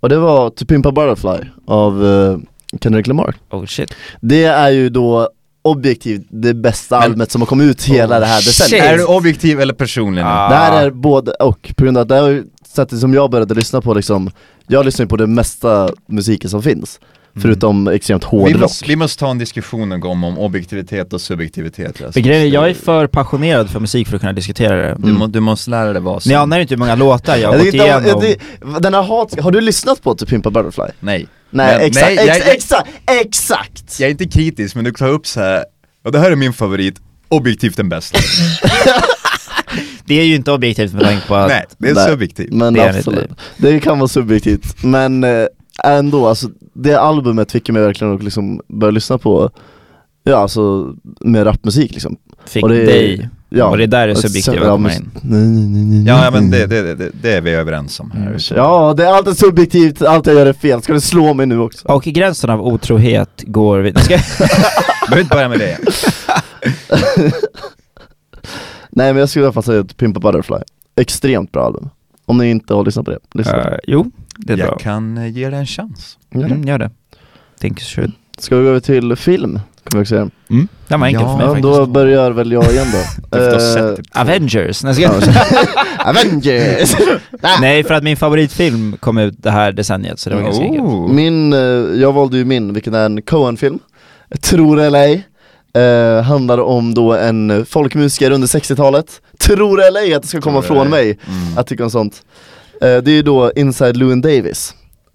Speaker 1: Och det var To Pimpa Butterfly av eh, Kendrick Lamar
Speaker 2: Oh shit.
Speaker 1: Det är ju då objektivt det bästa
Speaker 3: Men-
Speaker 1: albumet som har kommit ut hela
Speaker 2: Oh,
Speaker 1: det här decenniet
Speaker 3: Är du objektiv eller personlig nu?
Speaker 2: Ah.
Speaker 1: Det här är både och, på grund av att det här är ju sättet som jag började lyssna på liksom Jag lyssnar ju på det mesta musiken som finns Förutom extremt hård
Speaker 3: Mm. Vi
Speaker 1: rock
Speaker 3: måste, vi måste ta en diskussion någon gång om objektivitet och subjektivitet Rasmus.
Speaker 2: För grejen är, jag är för passionerad för musik för att kunna diskutera det.
Speaker 3: du, må, du måste lära dig vad som...
Speaker 2: Ni anar inte hur många låtar jag har
Speaker 1: Jag
Speaker 2: gått
Speaker 1: tycker inte om-
Speaker 2: igenom.
Speaker 1: det- Den här hat, har du lyssnat på To Pimpa Butterfly?
Speaker 3: Nej.
Speaker 1: Nej,
Speaker 3: Men-
Speaker 1: exakt,
Speaker 3: nej, jag-
Speaker 1: ex,
Speaker 3: jag-
Speaker 1: exakt, exakt!
Speaker 3: Jag är inte kritisk, men du tar upp så här. och det här är min favorit, objektivt den bästa.
Speaker 2: Det är ju inte objektivt med tanke på att
Speaker 3: Nej, det är
Speaker 1: Nej,
Speaker 3: subjektivt.
Speaker 1: Men
Speaker 2: Det är det
Speaker 1: absolut, det kan vara subjektivt men eh, ändå alltså det albumet fick mig verkligen att liksom börja lyssna på Ja alltså med rapmusik liksom
Speaker 2: fick
Speaker 1: Och det-
Speaker 2: dig.
Speaker 1: ja.
Speaker 2: Och det där är
Speaker 1: Och sen-
Speaker 2: subjektivt.
Speaker 1: ja,
Speaker 2: Ja,
Speaker 1: men- Nej, nej, nej, nej,
Speaker 3: Ja, ja,
Speaker 1: nej.
Speaker 3: men det, det, det, det är vi överens om
Speaker 1: Mm.
Speaker 3: här. Så-
Speaker 1: Ja, det är alltid subjektivt, allt jag gör är fel, ska du slå mig nu också?
Speaker 2: och i gränsen av otrohet går vi... Ska...
Speaker 3: Behöver inte börja med det.
Speaker 1: Nej men jag skulle i alla fall säga att Pimpa Butterfly, extremt bra album Om ni inte har lyssnat på det, lyssna på det.
Speaker 2: Eh, jo, det är
Speaker 3: jag
Speaker 2: bra.
Speaker 3: kan eh, ge det en chans.
Speaker 1: Gör det.
Speaker 2: Mm, gör det. Think you should.
Speaker 1: Ska vi gå över till film? Kommer vi också göra.
Speaker 2: Mm. Den var enkel
Speaker 3: Ja,
Speaker 2: för mig
Speaker 1: Ja,
Speaker 2: faktiskt.
Speaker 1: då börjar väl jag igen då
Speaker 3: Du får ha
Speaker 1: Eh,
Speaker 3: sett typ två.
Speaker 2: Avengers, nej, ska...
Speaker 1: Avengers!
Speaker 2: nej för att min favoritfilm kom ut det här decenniet så det var ganska enkelt.
Speaker 3: Oh.
Speaker 1: Min, eh, jag valde ju min, vilken är en Coen-film, tror det eller ej Eh, handlar om då en folkmusiker under 60-talet Tror det eller ej att det ska komma
Speaker 3: Tror det
Speaker 1: från
Speaker 3: eller ej.
Speaker 1: mig
Speaker 3: Mm.
Speaker 1: Jag tycker om sånt. Eh, det är ju då Inside Llewyn Davis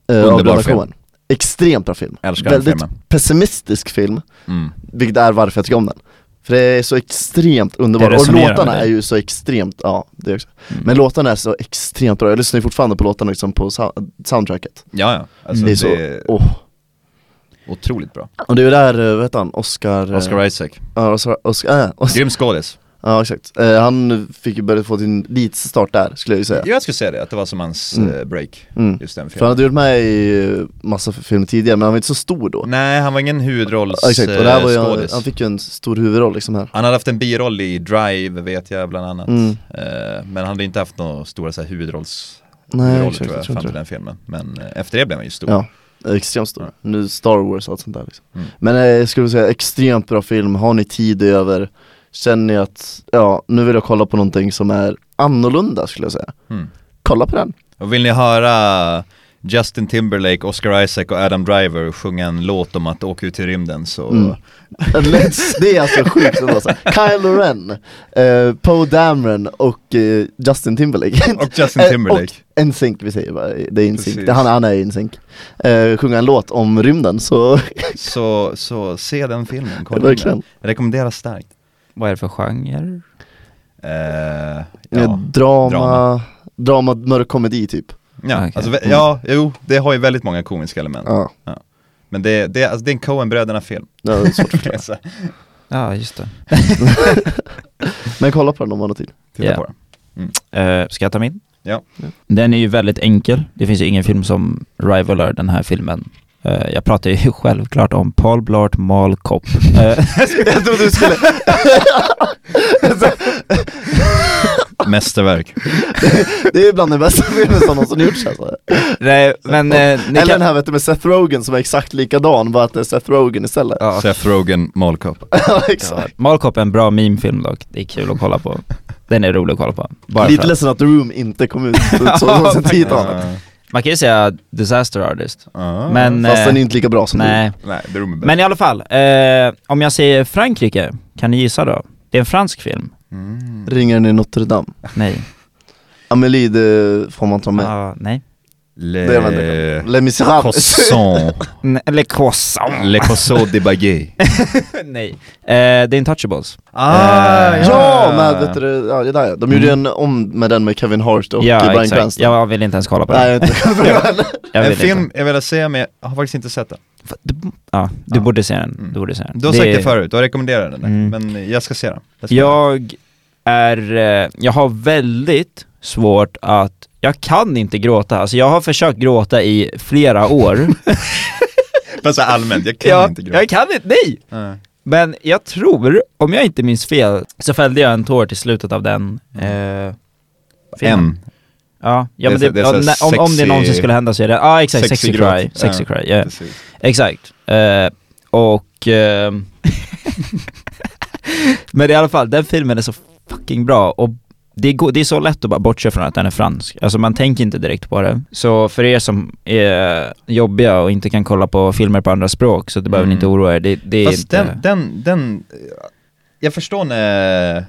Speaker 1: eh, av
Speaker 3: Underbar
Speaker 1: Leonard
Speaker 3: film.
Speaker 1: Cohen. Extremt bra film.
Speaker 3: Älskar den
Speaker 1: Väldigt
Speaker 3: filmen.
Speaker 1: pessimistisk film,
Speaker 3: Mm.
Speaker 1: vilket är varför jag tycker om den. För det är så extremt
Speaker 2: Det
Speaker 1: underbart, och
Speaker 2: resonerar med
Speaker 1: låtarna
Speaker 2: dig.
Speaker 1: är ju så extremt, ja det
Speaker 3: Mm.
Speaker 1: också. Mm. Men låtarna är så extremt bra, jag lyssnar ju fortfarande på låtarna liksom på sou- soundtracket.
Speaker 3: Ja, ja. Alltså,
Speaker 1: det är
Speaker 3: det,
Speaker 1: så,
Speaker 3: är
Speaker 1: åh.
Speaker 3: otroligt bra.
Speaker 1: Och det är ju där, eh, vad heter han, Oscar... eh,
Speaker 3: Oscar Isaac.
Speaker 1: Ja, Oscar, Oscar, äh, Oscar,
Speaker 3: Grym skådis.
Speaker 1: ja exakt. Eh, han fick ju börja få sin lite start där skulle jag ju säga.
Speaker 3: Jag skulle säga det, att det var som hans
Speaker 1: Mm.
Speaker 3: eh, break,
Speaker 1: Mm.
Speaker 3: just den
Speaker 1: För han
Speaker 3: filmen.
Speaker 1: hade gjort med i eh, massa filmer tidigare, men han var inte så stor då
Speaker 3: Nej, han var ingen huvudrolls
Speaker 1: Ja, Exakt, och det här var ju,
Speaker 3: eh,
Speaker 1: han,
Speaker 3: skådis.
Speaker 1: han fick ju en stor huvudroll liksom här
Speaker 3: Han hade haft en biroll i Drive vet jag bland annat.
Speaker 1: Mm.
Speaker 3: Eh, men han hade inte haft några stora så här, huvudrolls
Speaker 1: Nej,
Speaker 3: roller,
Speaker 1: exakt,
Speaker 3: tror jag,
Speaker 1: jag tror
Speaker 3: fram
Speaker 1: inte
Speaker 3: till den filmen. Men eh, efter det blev han ju stor.
Speaker 1: Ja, extremt stor,
Speaker 3: Ja.
Speaker 1: nu Star Wars och allt sånt där liksom.
Speaker 3: Mm.
Speaker 1: Men eh, jag skulle säga extremt bra film, har ni tid över Känner ni att, ja nu vill jag kolla på någonting som är annorlunda skulle jag säga
Speaker 3: Mm.
Speaker 1: Kolla på den!
Speaker 3: Och vill ni höra Justin Timberlake, Oscar Isaac och Adam Driver sjunga en låt om att åka ut i rymden så
Speaker 1: Mm. Det är alltså sjukt ändå alltså. Kylo Ren, eh, Poe Dameron och eh, Justin Timberlake
Speaker 3: Och Justin
Speaker 1: Eh,
Speaker 3: Timberlake.
Speaker 1: Och NSYNC, vi säger bara, det är NSYNC,
Speaker 3: Precis.
Speaker 1: det, han, han är NSYNC eh, Sjunga en låt om rymden så,
Speaker 3: så, så se den filmen, kolla den.
Speaker 1: verkligen
Speaker 3: Jag rekommenderar starkt.
Speaker 2: Vad är det för genre?
Speaker 3: Eh, ja,
Speaker 1: ja,
Speaker 3: ja,
Speaker 1: Eh, Drama, drama,
Speaker 3: drama.
Speaker 1: mörk komedi typ
Speaker 2: Ah, okej.
Speaker 3: alltså, vä- ja, jo, det har ju väldigt många komiska element.
Speaker 1: Ja,
Speaker 3: Men det, det, alltså, det är en Coen-bröderna-film.
Speaker 1: det är svårt att förklara
Speaker 3: Alltså,
Speaker 2: Ja, just det.
Speaker 1: Men kolla på den om man har tid
Speaker 3: Titta
Speaker 2: Ja.
Speaker 3: på den.
Speaker 2: Eh, ska jag ta min?
Speaker 3: Ja.
Speaker 1: Ja.
Speaker 2: Den är ju väldigt enkel. Det finns ju ingen film som rivalar den här filmen. Eh, jag pratar ju självklart om Paul Blart Mall Cop. Eh,
Speaker 1: Jag trodde du skulle,
Speaker 3: Mästerverk.
Speaker 1: det är bland den bästa filmen som någonsin gjorts alltså
Speaker 2: nej, men eh, ni
Speaker 1: Eller
Speaker 2: kan...
Speaker 1: den här vet du med Seth Rogen som är exakt likadan, bara att det är Seth Rogen istället
Speaker 2: Ja,
Speaker 3: Seth Rogen, Malkop.
Speaker 1: Ja,
Speaker 2: God.
Speaker 1: exakt
Speaker 2: Mall Cop är en bra memefilm dock. Det är kul att kolla på. Den är rolig att kolla på. Bara
Speaker 1: Lite
Speaker 2: för att-
Speaker 1: ledsen att The Room inte kom ut så- så någonsin tidigare
Speaker 2: Man kan ju säga Disaster Artist. Men,
Speaker 1: Fast
Speaker 2: eh,
Speaker 1: den är inte lika bra som
Speaker 2: Nej.
Speaker 3: Ah. Nej, The Room är
Speaker 2: Men i alla fall, eh, om jag säger Frankrike, kan ni gissa då? Det är en fransk film?
Speaker 3: Mm.
Speaker 1: du. Ringaren i Notre Dame
Speaker 2: Nej.
Speaker 1: Amelie, det får man ta med
Speaker 2: Ja, nej.
Speaker 1: Det är väl det. Les Misérables
Speaker 3: Cosson.
Speaker 2: N- Eller Croissant.
Speaker 3: Le Cosson de Baguette.
Speaker 2: nej. Eh, det är Intouchables.
Speaker 3: Ah,
Speaker 2: Eh,
Speaker 1: Ja, men vet du, ja, det där, ja. de gjorde ju en om med den med Kevin Hart och Bryan Cranston
Speaker 2: Jag vill inte ens kolla på
Speaker 1: Nej,
Speaker 2: det.
Speaker 1: jag vet inte.
Speaker 2: Jag vill
Speaker 3: en
Speaker 2: inte.
Speaker 3: film jag ville se men jag har faktiskt inte sett den.
Speaker 2: F- Du, ja, du
Speaker 3: Ja.
Speaker 2: borde se den.
Speaker 3: Mm.
Speaker 2: Du borde se den.
Speaker 3: Du har sagt
Speaker 2: är-
Speaker 3: det förut, du har rekommenderat den.
Speaker 2: Mm.
Speaker 3: Men jag ska se den. Jag ska se den.
Speaker 2: Jag är, eh, jag har väldigt svårt att, jag kan inte gråta, alltså jag har försökt gråta i flera år.
Speaker 3: Fast så här allmänt, jag kan
Speaker 2: jag,
Speaker 3: inte gråta.
Speaker 2: jag kan inte, nej!
Speaker 3: Nej.
Speaker 2: Men jag tror, om jag inte minns fel, så fällde jag en tår till slutet av den eh, filmen.
Speaker 3: En.
Speaker 2: Ja, ja
Speaker 3: Det är
Speaker 2: men
Speaker 3: så-
Speaker 2: det,
Speaker 3: det är
Speaker 2: ja,
Speaker 3: så
Speaker 2: när- om, om det
Speaker 3: sexy-
Speaker 2: någonsin skulle hända så är det, ja ah, exakt,
Speaker 3: sexy
Speaker 2: sexy,
Speaker 3: gråt.
Speaker 2: cry, sexy
Speaker 3: Ja.
Speaker 2: cry, ja.
Speaker 3: precis.
Speaker 2: Exakt. Eh, och... Eh, men i alla fall, den filmen är så fucking bra och det, går, det är så lätt att bara bortse från att den är fransk. Alltså man tänker inte direkt på det. Så för er som är jobbiga och inte kan kolla på filmer på andra språk så det behöver ni
Speaker 3: Mm.
Speaker 2: inte oroa er. Det, det är
Speaker 3: Fast
Speaker 2: inte...
Speaker 3: den, den, den, jag förstår när,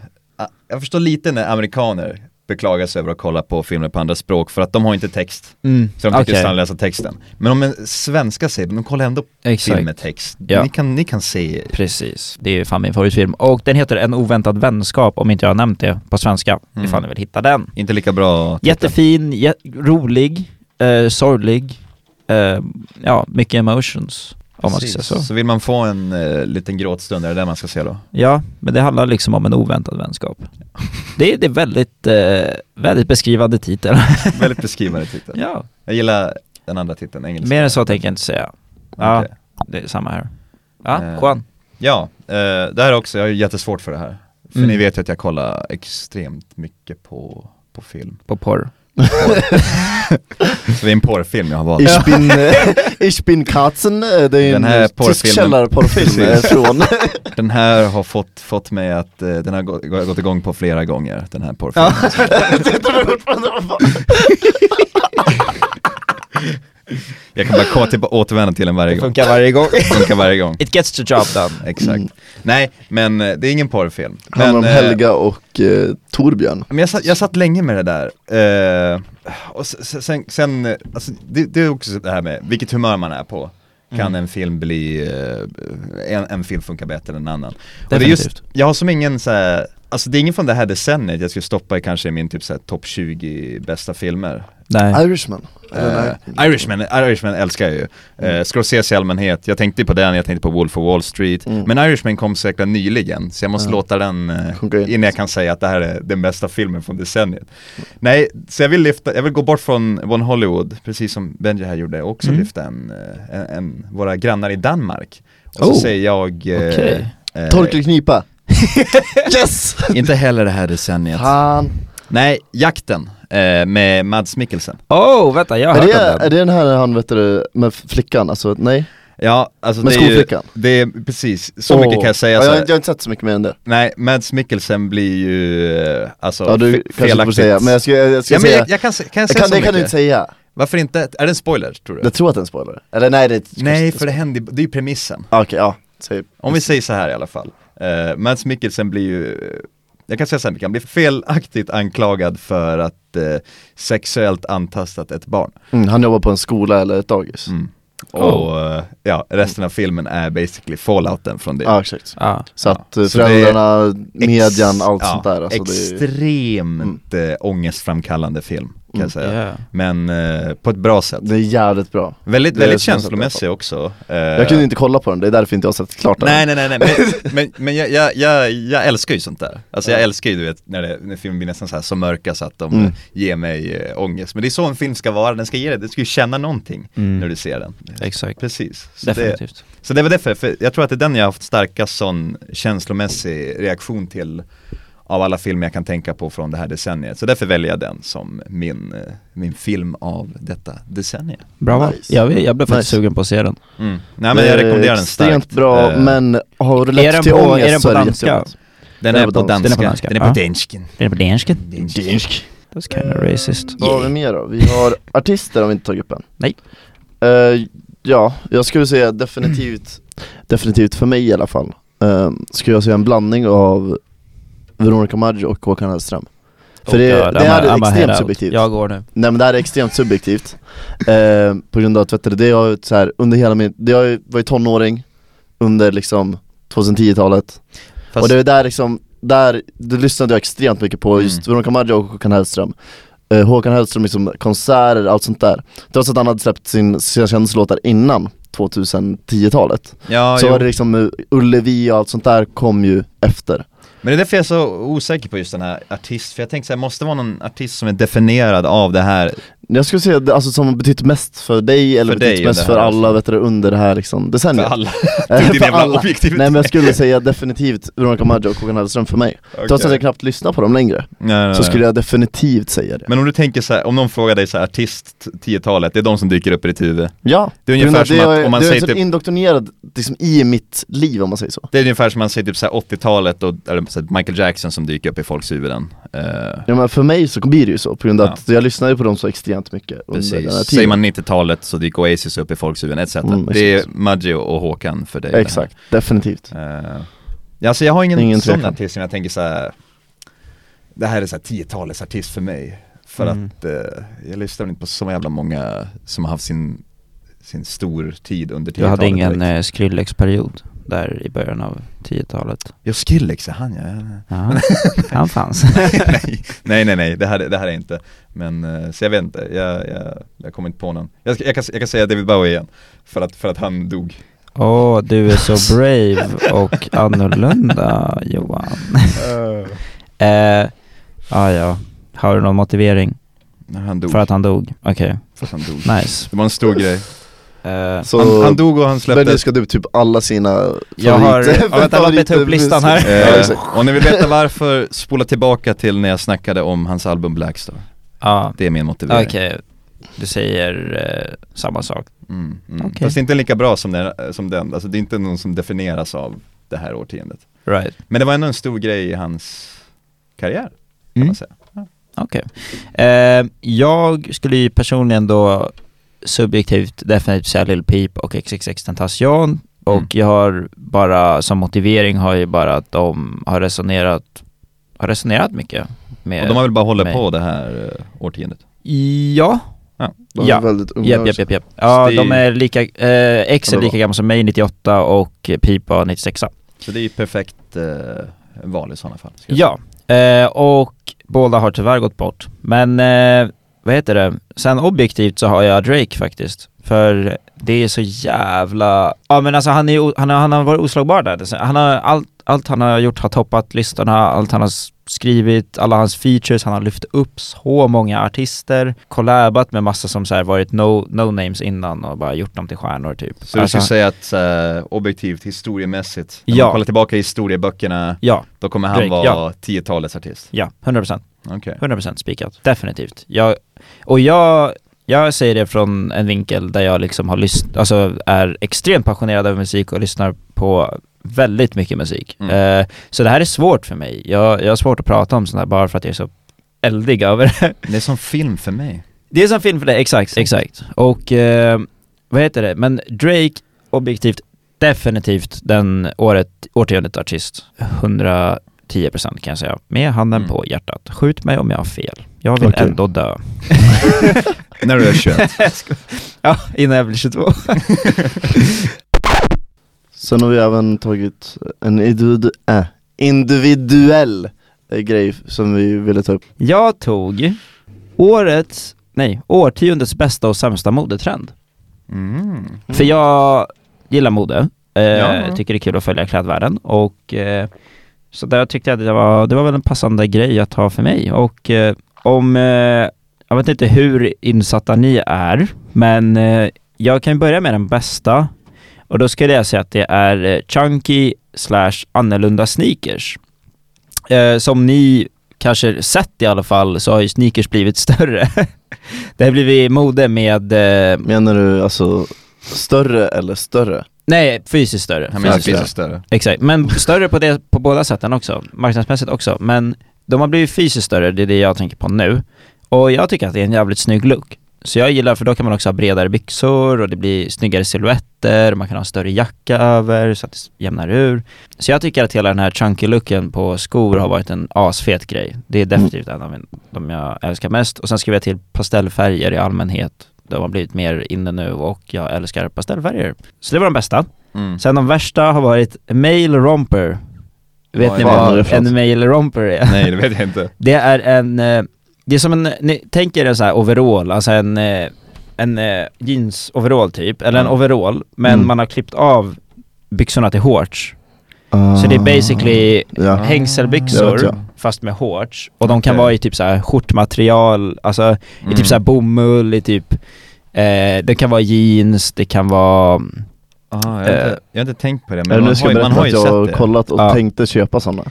Speaker 3: jag förstår lite när amerikaner beklagar sig över att kolla på filmer på andra språk för att de har inte text.
Speaker 2: Mm,
Speaker 3: Så de tycker
Speaker 2: okej.
Speaker 3: okay. att läsa texten. Men om en svenska säger de kollar ändå
Speaker 2: Exakt.
Speaker 3: film med text.
Speaker 2: Ja.
Speaker 3: Ni, kan, ni kan se,
Speaker 2: Precis, det är ju fan min favoritfilm. Och den heter En oväntad vänskap, om inte jag har nämnt det på svenska.
Speaker 3: Mm.
Speaker 2: Ifall ni vill hitta den.
Speaker 3: inte lika bra titel.
Speaker 2: Jättefin, jä- rolig, eh, sorglig, eh, ja, mycket emotions om man ska säga
Speaker 3: Precis.
Speaker 2: så.
Speaker 3: vill man få en eh, liten gråtstund, är det det man ska se då?
Speaker 2: Ja, men det handlar liksom om en oväntad vänskap. Det är, det är väldigt, eh, väldigt beskrivande titel.
Speaker 3: Väldigt beskrivande titel.
Speaker 2: ja.
Speaker 3: Jag gillar den andra titeln, engelska.
Speaker 2: Mer än så tänker jag inte säga. Ja,
Speaker 3: Okej.
Speaker 2: det är samma här. Ja,
Speaker 3: Eh,
Speaker 2: Juan.
Speaker 3: Ja, eh, det här också, jag har jättesvårt för det här. För
Speaker 2: Mm.
Speaker 3: ni vet ju att jag kollar extremt mycket på, på film.
Speaker 2: På porr.
Speaker 3: Så det är en porrfilm jag har valt.
Speaker 1: Ich bin, eh, ich bin Katzen, eh, det är
Speaker 3: Den här
Speaker 1: en tysk
Speaker 3: porrfilmen.
Speaker 1: källarporrfilm eh,
Speaker 3: Precis.
Speaker 1: från
Speaker 3: Den här har fått, fått mig att, eh, den har gå- gå- gått igång på flera gånger, den här porrfilmen. Jag kan bara gå till, återvända till den varje gång.
Speaker 2: varje gång.
Speaker 3: Funkar varje gång.
Speaker 2: It gets the job done.
Speaker 3: Exakt. Nej, men eh, det är ingen porrfilm.
Speaker 1: handlar
Speaker 3: Men,
Speaker 1: om
Speaker 3: eh,
Speaker 1: Helga och eh, Torbjörn.
Speaker 3: Men jag satt, jag satt länge med det där, eh, och sen, sen, sen eh, alltså, det, det är också det här med vilket humör man är på. Kan en film bli, eh, en, en film funkar bättre än en annan. Och det är just,
Speaker 2: Definitivt.
Speaker 3: jag har som ingen så här, alltså det är ingen från det här decenniet jag skulle stoppa i kanske i min typ så här topp 20 bästa filmer.
Speaker 2: Nej.
Speaker 1: Irishman. Eller nej.
Speaker 3: Eh, Irishman, Irishman älskar jag ju.
Speaker 1: Mm.
Speaker 3: Eh, Scorsese i allmänhet, jag tänkte på den, jag tänkte på Wolf of Wall Street.
Speaker 1: Mm.
Speaker 3: Men Irishman kom så jäkla nyligen, så jag måste
Speaker 1: Ja.
Speaker 3: låta den, eh,
Speaker 1: Sjunka in.
Speaker 3: innan jag kan säga att det här är den bästa filmen från decenniet. Nej, så jag vill lyfta, jag vill gå bort från Von Hollywood, precis som Benji här gjorde, också
Speaker 2: Mm.
Speaker 3: lyfta en, eh, en, en, våra grannar i Danmark. Och så
Speaker 2: Oh.
Speaker 3: säger jag, eh,
Speaker 2: Okej.
Speaker 3: eh,
Speaker 1: Tork eller knipa? yes!
Speaker 3: inte heller det här decenniet.
Speaker 1: Fan.
Speaker 3: Nej, Jakten eh, med Mads Mikkelsen.
Speaker 2: Oh, vänta, jag har
Speaker 1: Är
Speaker 2: hört
Speaker 1: det,
Speaker 2: om
Speaker 1: är
Speaker 2: den.
Speaker 1: det den här han vet du, med flickan, alltså nej?
Speaker 3: Ja, alltså
Speaker 1: Med
Speaker 3: det är ju,
Speaker 1: skolflickan?
Speaker 3: det är precis, så
Speaker 1: Åh.
Speaker 3: mycket kan jag säga
Speaker 1: ja,
Speaker 3: så
Speaker 1: jag,
Speaker 3: här.
Speaker 1: har inte- jag har inte sett så mycket mer än det
Speaker 3: Nej, Mads Mikkelsen blir ju eh, alltså
Speaker 1: Ja du
Speaker 3: fe-
Speaker 1: kanske inte får säga, men jag ska, jag ska
Speaker 3: ja, men
Speaker 1: säga
Speaker 3: jag, jag kan, se- kan jag
Speaker 1: jag
Speaker 3: säga
Speaker 1: kan,
Speaker 3: så
Speaker 1: Det kan
Speaker 3: mycket?
Speaker 1: du inte säga,
Speaker 3: Varför inte? Är det en spoiler tror du?
Speaker 1: jag tror att det är en spoiler, eller nej det är
Speaker 3: Nej, för det händer ju- det är ju premissen.
Speaker 1: Okej, ja, typ
Speaker 3: Om vi säger så här i alla fall. Uh, Mads Mikkelsen blir ju, eh, jag kan säga så här mycket, han blir felaktigt anklagad för att eh, sexuellt antastat ett barn.
Speaker 1: mm, Han jobbar på en skola eller ett dagis
Speaker 3: Mm.
Speaker 2: Oh.
Speaker 3: Och eh, ja, resten av filmen är basically fallouten från det.
Speaker 1: Ja exakt,
Speaker 2: Ja.
Speaker 1: så att eh,
Speaker 3: Så det är
Speaker 1: föräldrarna, median,
Speaker 3: Ex-
Speaker 1: allt
Speaker 3: ja,
Speaker 1: sånt där alltså, det är,
Speaker 3: Extremt eh, ångestframkallande film kan
Speaker 1: Mm.
Speaker 3: jag säga.
Speaker 2: Yeah.
Speaker 3: Men eh, på ett bra sätt.
Speaker 1: det är jävligt bra
Speaker 3: Väldigt,
Speaker 1: Det är
Speaker 3: väldigt
Speaker 1: som jag
Speaker 3: känslomässig också. Eh,
Speaker 1: Jag kunde inte kolla på den, det är därför inte jag har sett klart den
Speaker 3: Nej nej nej, nej. men, men, men jag, jag, jag, jag älskar ju sånt där. Alltså jag älskar ju du vet när, det, när filmen blir nästan så, här, så mörka så att de
Speaker 1: Mm.
Speaker 3: eh, ger mig eh, ångest. Men det är så en film ska vara, den ska ge dig, du ska ju känna någonting
Speaker 2: Mm.
Speaker 3: när du ser den.
Speaker 2: Exakt.
Speaker 3: Precis. Så det,
Speaker 2: Definitivt.
Speaker 3: så det var därför, för jag tror att det är den jag har haft starkast sån känslomässig reaktion till av alla filmer jag kan tänka på från det här decenniet. Så därför väljer jag den som min, eh, min film av detta decennium.
Speaker 2: Bra val.
Speaker 1: Nice.
Speaker 2: Jag, jag blev faktiskt
Speaker 1: Nice.
Speaker 2: sugen på att se den.
Speaker 3: Mm. Nej men jag rekommenderar den starkt.
Speaker 1: Eh, Extremt bra,
Speaker 3: Eh,
Speaker 1: men har du lätt
Speaker 2: är den
Speaker 1: till
Speaker 2: på- är
Speaker 1: ångest
Speaker 2: den på
Speaker 1: så är det
Speaker 2: danska?
Speaker 1: jättejobbigt.
Speaker 3: Den
Speaker 1: Den är
Speaker 3: är på
Speaker 1: på dans-
Speaker 3: danska. Den är på
Speaker 2: danska.
Speaker 3: dansken. Den är
Speaker 2: Ja.
Speaker 3: på dansken.
Speaker 2: Är det på danska?
Speaker 1: Dansk.
Speaker 2: That's kinda racist.
Speaker 1: Eh, Vad har vi mer då? Vi har artister har vi inte tagit upp än
Speaker 2: Nej.
Speaker 1: Eh, Ja, jag skulle säga definitivt Definitivt för mig i alla fall eh, Skulle jag säga en blandning av Veronica Maggio och Håkan Hellström För det,
Speaker 2: Oh God,
Speaker 1: det
Speaker 2: I'm a-
Speaker 1: här
Speaker 2: I'm
Speaker 1: är
Speaker 2: a head
Speaker 1: extremt
Speaker 2: out.
Speaker 1: subjektivt
Speaker 2: Jag går nu.
Speaker 1: Nej men det här är extremt subjektivt eh, På grund av att vet du, det har jag så här, under hela min, det har jag var ju tonåring Under liksom 2010-talet
Speaker 3: Fast-
Speaker 1: Och det är där liksom, där, det lyssnade jag extremt mycket på
Speaker 3: Mm.
Speaker 1: just Veronica Maggio och Håkan Hellström eh, Håkan Hellström liksom konserter, allt sånt där Trots att han hade släppt sin, sina kändislåtar innan 2010-talet
Speaker 3: Ja,
Speaker 1: Så
Speaker 3: jo.
Speaker 1: var det liksom eh, Ullevi och allt sånt där kom ju efter
Speaker 3: Men det är därför jag är så osäker på just den här artist, för jag tänkte såhär, måste det vara någon artist som är definierad av det här?
Speaker 1: Jag skulle säga det, alltså, som har betytt mest för dig eller
Speaker 3: För dig
Speaker 1: betytt
Speaker 3: är
Speaker 1: mest
Speaker 3: det
Speaker 1: för
Speaker 3: här
Speaker 1: alla
Speaker 3: alltså.
Speaker 1: vet du, under det här liksom,
Speaker 3: För
Speaker 1: decenniet.
Speaker 3: alla?
Speaker 1: Eh,
Speaker 3: Tog din
Speaker 1: för
Speaker 3: jävla
Speaker 1: alla.
Speaker 3: objektivitet.
Speaker 1: Nej men jag skulle säga definitivt Veronica Maggio och Håkan Hellström för mig. Trots att jag knappt lyssnar på dem längre,
Speaker 3: nej, nej,
Speaker 1: så skulle jag definitivt säga det.
Speaker 3: Men om du tänker så här, om någon frågar dig så här, artist 10-talet, det är de som dyker upp i ditt huvud.
Speaker 1: Ja,
Speaker 3: Det är ungefär
Speaker 1: det
Speaker 3: som att
Speaker 1: är-
Speaker 3: om man
Speaker 1: det är
Speaker 3: säger
Speaker 1: så
Speaker 3: typ,
Speaker 1: indoktrinerad liksom, i mitt liv om man säger så.
Speaker 3: det är ungefär som man säger typ så här 80-talet och eller, så här, Michael Jackson som dyker upp i folks huvuden. Eh,
Speaker 1: Ja, men för mig så blir det ju så, på grund av att jag lyssnar ju på dem så extremt mycket under den här
Speaker 3: precis.
Speaker 1: tiden.
Speaker 3: Säger man 90-talet så dyker Oasis upp i folks huvuden etc.
Speaker 1: Mm,
Speaker 3: det är
Speaker 1: exakt.
Speaker 3: Maggio och Håkan för dig. det här.
Speaker 1: Exakt, definitivt.
Speaker 3: Eh, ja, alltså jag har ingen,
Speaker 1: Ingen
Speaker 3: sån
Speaker 1: tvekan.
Speaker 3: artist som jag tänker så här. Det här är så här 10-talets artist för mig. För
Speaker 2: Mm.
Speaker 3: att eh, jag lyssnar inte på så jävla många som har haft sin, sin stor tid under 10-talet.
Speaker 2: Du hade ingen
Speaker 3: direkt.
Speaker 2: eh, Skrillex-period där i början av 10-talet?
Speaker 1: eh,
Speaker 3: Ja, Skrillex är han ja. ja, ja.
Speaker 2: Ja, han fanns.
Speaker 3: nej nej nej, det här, det här är inte. Men eh, så jag vet inte, jag, jag, jag kommer inte på någon. Jag, ska- jag, kan, jag kan säga David Bowie igen, för att, för att han dog.
Speaker 2: Åh, du är så brave och annorlunda Johan. Eh, ah, ja, har du någon motivering?
Speaker 3: Nej, han dog.
Speaker 2: För att han dog? Okej,
Speaker 3: För att han dog.
Speaker 2: nice.
Speaker 3: Det var en stor grej.
Speaker 2: Eh,
Speaker 1: Så,
Speaker 3: Han, han dog och han
Speaker 1: men nu
Speaker 3: släpptes.
Speaker 1: ska du typ alla sina
Speaker 2: Jag har-
Speaker 1: favoriter-
Speaker 2: ja, vänta, låt mig ta upp listan här.
Speaker 1: favoriter-
Speaker 3: Eh,
Speaker 1: Ja, exakt.
Speaker 3: om ni vill veta varför, spola tillbaka till när jag snackade om hans album Blackstar.
Speaker 2: Ja,
Speaker 3: Det är min motivering.
Speaker 2: ah, okej. Du säger eh, samma sak.
Speaker 3: Mm, mm.
Speaker 2: Okej.
Speaker 3: Fast det är inte lika bra som den, som den, alltså det är inte någon som definieras av det här årtiondet.
Speaker 2: Right.
Speaker 3: Men det var ändå en stor grej i hans karriär, kan
Speaker 2: Mm.
Speaker 3: man säga.
Speaker 2: Okej. Eh, jag skulle ju personligen då subjektivt definitivt säga Lil Peep och XXX Tentacion. Och
Speaker 3: Mm.
Speaker 2: jag har bara, som motivering har ju bara att de har resonerat, har resonerat mycket med...
Speaker 3: Och de har väl bara hållit
Speaker 2: mig.
Speaker 3: på det här eh, årtiondet?
Speaker 2: Ja,
Speaker 1: De är
Speaker 2: Ja.
Speaker 1: väldigt unga
Speaker 2: Japp, japp,
Speaker 1: också.
Speaker 2: japp, japp. Ja,
Speaker 3: Så det-
Speaker 2: de är lika, eh, X är
Speaker 1: Eller vad?
Speaker 2: lika gammal som mig, 98 och Pip var 96
Speaker 3: Så det är ju perfekt eh, val i sådana fall. ska jag
Speaker 2: Ja, eh, och båda har tyvärr gått bort. Men eh, vad heter det, sen objektivt så har jag Drake faktiskt. För det är så jävla, ja men alltså han, är, o- han, har, han har varit oslagbar där. Han har, allt, allt han har gjort har toppat listorna, allt han har s- skrivit, alla hans features, han har lyft upp så många artister, collabat med massa som så här varit no- no-names innan och bara gjort dem till stjärnor typ.
Speaker 3: säga. Så du skulle säga att eh, objektivt, historiemässigt, när
Speaker 2: Ja.
Speaker 3: man kollar tillbaka i historieböckerna,
Speaker 2: ja,
Speaker 3: då kommer han
Speaker 2: Drake, ja.
Speaker 3: vara 10-talets artist?
Speaker 2: ja, 100%.
Speaker 3: Okej.
Speaker 2: 100% spikat, definitivt. Jag, och jag, jag säger det från en vinkel där jag liksom har lyssn- alltså är extremt passionerad över musik och lyssnar på väldigt mycket musik.
Speaker 3: Mm.
Speaker 2: Eh, så det här är svårt för mig. Jag, jag har svårt att prata om sånt här bara för att jag är så eldig över det.
Speaker 3: Det är som film för mig.
Speaker 2: Det är som film för dig, exakt, exakt. Och eh, vad heter det, men Drake, objektivt, definitivt den året, årtiondet artist. 110% kan jag säga. Med handen
Speaker 3: Mm.
Speaker 2: på hjärtat. Skjut mig om jag har fel. Jag vill
Speaker 1: Okej.
Speaker 2: ändå dö.
Speaker 3: När du är 21.
Speaker 2: Ja, innan jag blir 22.
Speaker 1: Sen har vi även tagit en individu- äh, individuell eh, grej som vi ville ta upp
Speaker 2: Jag tog årets, nej, årtiondets bästa och sämsta modetrend.
Speaker 3: Mm.
Speaker 1: Mm.
Speaker 2: För jag gillar mode, eh,
Speaker 3: Ja.
Speaker 2: tycker det är kul att följa klädvärlden och eh, så där tyckte jag att det var, det var väl en passande grej att ha för mig och eh, om, eh, jag vet inte hur insatta ni är, men eh, jag kan börja med den bästa och då skulle jag säga att det är eh, chunky slash annorlunda sneakers. Eh, som ni kanske sett i alla fall så har ju sneakers blivit större. det har blivit mode med eh,
Speaker 1: Menar du alltså större eller större?
Speaker 2: Nej, fysiskt större.
Speaker 3: Han menar
Speaker 2: Fysiskt
Speaker 1: Fysiska.
Speaker 3: fysiskt
Speaker 2: större.
Speaker 3: större.
Speaker 2: Exakt, men större på, det, på båda sätten också. Marknadsmässigt också. Men de har blivit fysiskt större, det är det jag tänker på nu. Och jag tycker att det är en jävligt snygg look. Så jag gillar, för då kan man också ha bredare byxor och det blir snyggare silhuetter, man kan ha en större jacka över så att det jämnar ur. Så jag tycker att hela den här chunky looken på skor har varit en asfet grej. Det är definitivt en av min- de jag älskar mest. Och sen skriver jag till pastellfärger i allmänhet. De har blivit mer inne nu och jag älskar pastellfärger. Så det var de bästa.
Speaker 3: Mm.
Speaker 2: Sen de värsta har varit mail romper. Vet
Speaker 3: Vad
Speaker 2: ni
Speaker 3: är det?
Speaker 1: Vad är det
Speaker 2: vad
Speaker 1: för något?
Speaker 2: en mail romper är?
Speaker 3: Nej, det vet jag inte.
Speaker 2: Det är en, eh, det är som en, ni tänker en sån här overall, alltså en, eh, en eh, jeans overall typ, eller en
Speaker 3: Mm.
Speaker 2: overall, men
Speaker 1: Mm.
Speaker 2: man har klippt av byxorna till shorts. Så
Speaker 3: Ah.
Speaker 2: det är basically
Speaker 1: Ja. Det vet
Speaker 2: hängselbyxor
Speaker 1: jag.
Speaker 2: fast med shorts och de kan
Speaker 3: Okej.
Speaker 2: vara i typ så här skjortmaterial, alltså i
Speaker 3: Mm.
Speaker 2: typ så här bomull, i typ eh, det kan vara jeans, det kan vara...
Speaker 3: Ah, jag, har inte,
Speaker 2: Eh,
Speaker 3: jag har inte tänkt på det,
Speaker 1: Men
Speaker 3: men
Speaker 1: nu
Speaker 3: man
Speaker 1: ska
Speaker 3: har,
Speaker 1: jag
Speaker 3: ju- man
Speaker 1: berätta
Speaker 3: har
Speaker 1: att
Speaker 3: ju
Speaker 1: jag har
Speaker 3: sett det.
Speaker 1: kollat och
Speaker 2: Ja.
Speaker 1: tänkte köpa sådana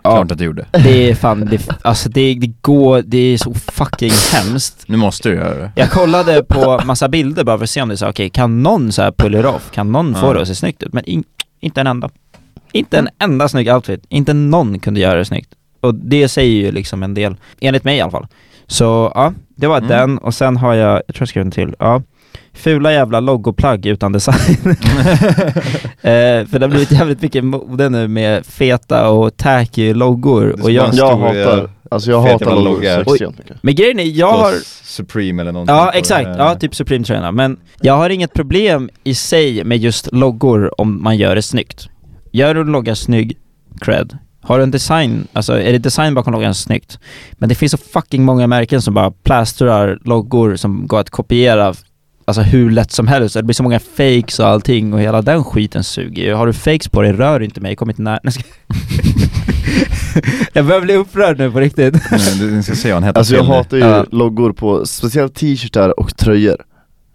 Speaker 3: Klart att du gjorde.
Speaker 2: Det är fan, det, alltså det, det går, det är så fucking hemskt
Speaker 3: Nu måste du göra det.
Speaker 2: Jag kollade på massa bilder bara för att se om det är så här, okej, kan någon så här pull it off? Kan någon få
Speaker 3: Ja.
Speaker 2: det att se snyggt ut? Men in, inte en enda. Inte en enda snygg outfit. Inte någon kunde göra det snyggt. Och det säger ju liksom en del, enligt mig i alla fall. Så ja, det var
Speaker 3: Mm.
Speaker 2: den och sen har jag, jag tror jag skrev en till, ja. Fula jävla loggoplagg utan design. eh, för det har blivit jävligt mycket mode nu med feta och tacky loggor.
Speaker 3: Det
Speaker 2: Och jag,
Speaker 3: En
Speaker 1: Jag
Speaker 3: stor,
Speaker 1: hatar, alltså jag
Speaker 3: fet
Speaker 1: hatar
Speaker 3: jävla
Speaker 1: logos
Speaker 3: logga.
Speaker 1: extremt mycket
Speaker 2: men grejen är, jag har...
Speaker 3: Plus Supreme eller någonting. på
Speaker 2: Ja
Speaker 3: det.
Speaker 2: exakt, ja typ Supreme-tröjorna. Men jag har inget problem i sig med just loggor om man gör det snyggt. Gör du en logga snygg, cred. Har du en design, alltså är det design bakom loggan snyggt? Men det finns så fucking många märken som bara plastrar loggor som går att kopiera Alltså hur lätt som helst, det blir så många fakes och allting och hela den skiten suger ju. Har du fakes på dig, rör inte mig, kom inte nära. Nej, jag ska- Jag börjar bli upprörd nu på riktigt.
Speaker 3: Nej, du- du ska se vad han heter.
Speaker 1: Alltså jag
Speaker 3: till nu.
Speaker 1: hatar ju
Speaker 2: Ja.
Speaker 1: loggor på speciellt t-shirtar och tröjor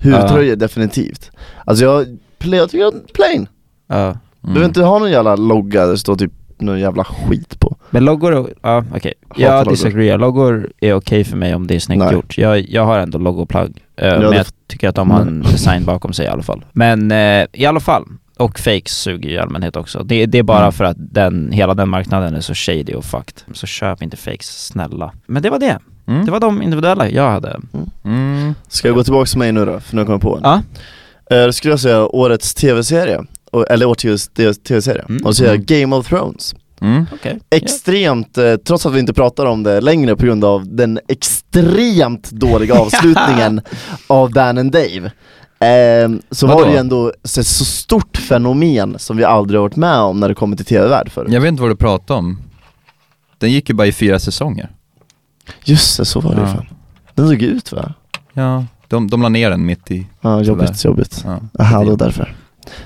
Speaker 1: Huvudtröjor definitivt Alltså jag, pl- jag tycker att plain,
Speaker 2: Ja.
Speaker 1: du
Speaker 3: Mm.
Speaker 1: vill inte ha någon jävla logga där det står typ någon jävla skit på
Speaker 2: Men loggor, och- ja okej.
Speaker 1: Hatar
Speaker 2: Jag
Speaker 1: loggor.
Speaker 2: disagreerar, loggor är okej för mig om det är snyggt
Speaker 1: Nej.
Speaker 2: gjort. Jag, jag har ändå loggoplagg,
Speaker 1: Ja,
Speaker 2: eh, men
Speaker 1: det- Mm.
Speaker 2: jag tycker att de har en design bakom sig i alla fall. Men eh, i alla fall, och fakes suger ju i allmänhet också. Det, det är bara
Speaker 3: Mm.
Speaker 2: för att den, hela den marknaden är så shady och fucked. Så köp inte fakes, snälla. Men det var det.
Speaker 3: Mm.
Speaker 2: Det var de individuella jag hade.
Speaker 3: Mm.
Speaker 1: Ska jag gå tillbaka till mig nu då? För nu kommer jag på en
Speaker 2: Ja.
Speaker 1: Eh, Då skulle jag säga årets tv-serie, Och- eller årets tv-serie,
Speaker 2: Mm.
Speaker 1: och då säger jag
Speaker 3: Mm.
Speaker 1: Game of Thrones
Speaker 3: Mm.
Speaker 2: Okej.
Speaker 1: Extremt, eh, trots att vi inte pratar om det längre på grund av den extremt dåliga avslutningen av Dan and Dave eh, Så var
Speaker 3: Vadå?
Speaker 1: det ju ändå så, så stort fenomen som vi aldrig har varit med om när det kommer till tv-värld förut
Speaker 3: Jag vet inte vad du pratar om. Den gick ju bara i fyra säsonger.
Speaker 1: Just det, så var det ju
Speaker 3: Ja.
Speaker 1: fan Den såg ut va?
Speaker 3: Ja. De, de la ner den mitt i.
Speaker 1: Ja, jobbigt,
Speaker 3: Tyvärr.
Speaker 1: jobbigt
Speaker 3: Ja.
Speaker 1: Aha, det var därför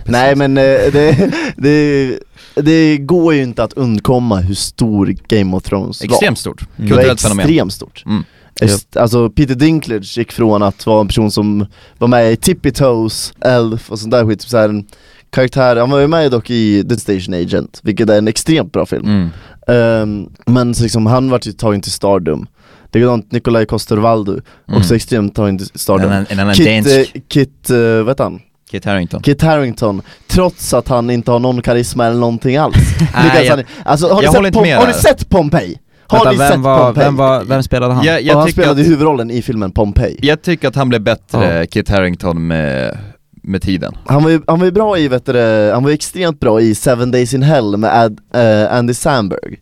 Speaker 1: Nej men eh, det, det, det går ju inte att undkomma hur stor Game of Thrones var
Speaker 3: Extremt stort.
Speaker 2: Mm.
Speaker 1: Det var
Speaker 3: Kulturellt fenomen.
Speaker 1: extremt stort
Speaker 3: Mm.
Speaker 1: Ex- Alltså Peter Dinklage gick från att vara en person som var med i Tippy Toes, Elf och sånt där skit, typ så här en karaktär, han var ju med dock i The Station Agent, vilket är en extremt bra film
Speaker 3: Mm.
Speaker 1: Ehm, Men så liksom, han vart ju tagen till Stardom Likadant Nikolaj Coster-Valdu,
Speaker 3: Mm.
Speaker 1: också extremt tagen till
Speaker 3: En
Speaker 1: Stardom
Speaker 3: annan- En annan
Speaker 1: Kit, eh,
Speaker 3: dansk.
Speaker 1: Kit, eh, vad heter han?
Speaker 3: Kit Harington.
Speaker 1: Kit Harrington, trots att han inte har någon karisma eller någonting alls Lyckas
Speaker 3: jag-
Speaker 1: han i- alltså, har,
Speaker 3: jag
Speaker 1: du
Speaker 3: håller
Speaker 1: sett
Speaker 3: inte
Speaker 1: Pom-
Speaker 3: med
Speaker 1: har du
Speaker 3: där.
Speaker 1: sett Pompeji? Har
Speaker 2: Vänta,
Speaker 1: ni
Speaker 2: vem,
Speaker 1: sett
Speaker 2: var,
Speaker 1: Pompeji?
Speaker 2: vem, var, vem spelade han?
Speaker 3: Jag,
Speaker 1: och
Speaker 3: jag
Speaker 1: han
Speaker 3: tycker
Speaker 1: spelade
Speaker 3: att,
Speaker 1: huvudrollen i filmen Pompeji
Speaker 3: jag tycker att han blev bättre, Kit Harington med, med tiden.
Speaker 1: Han var ju, han var ju bra i, vet du, det, han var ju extremt bra i Seven Days in Hell med Ad, eh, Andy Samberg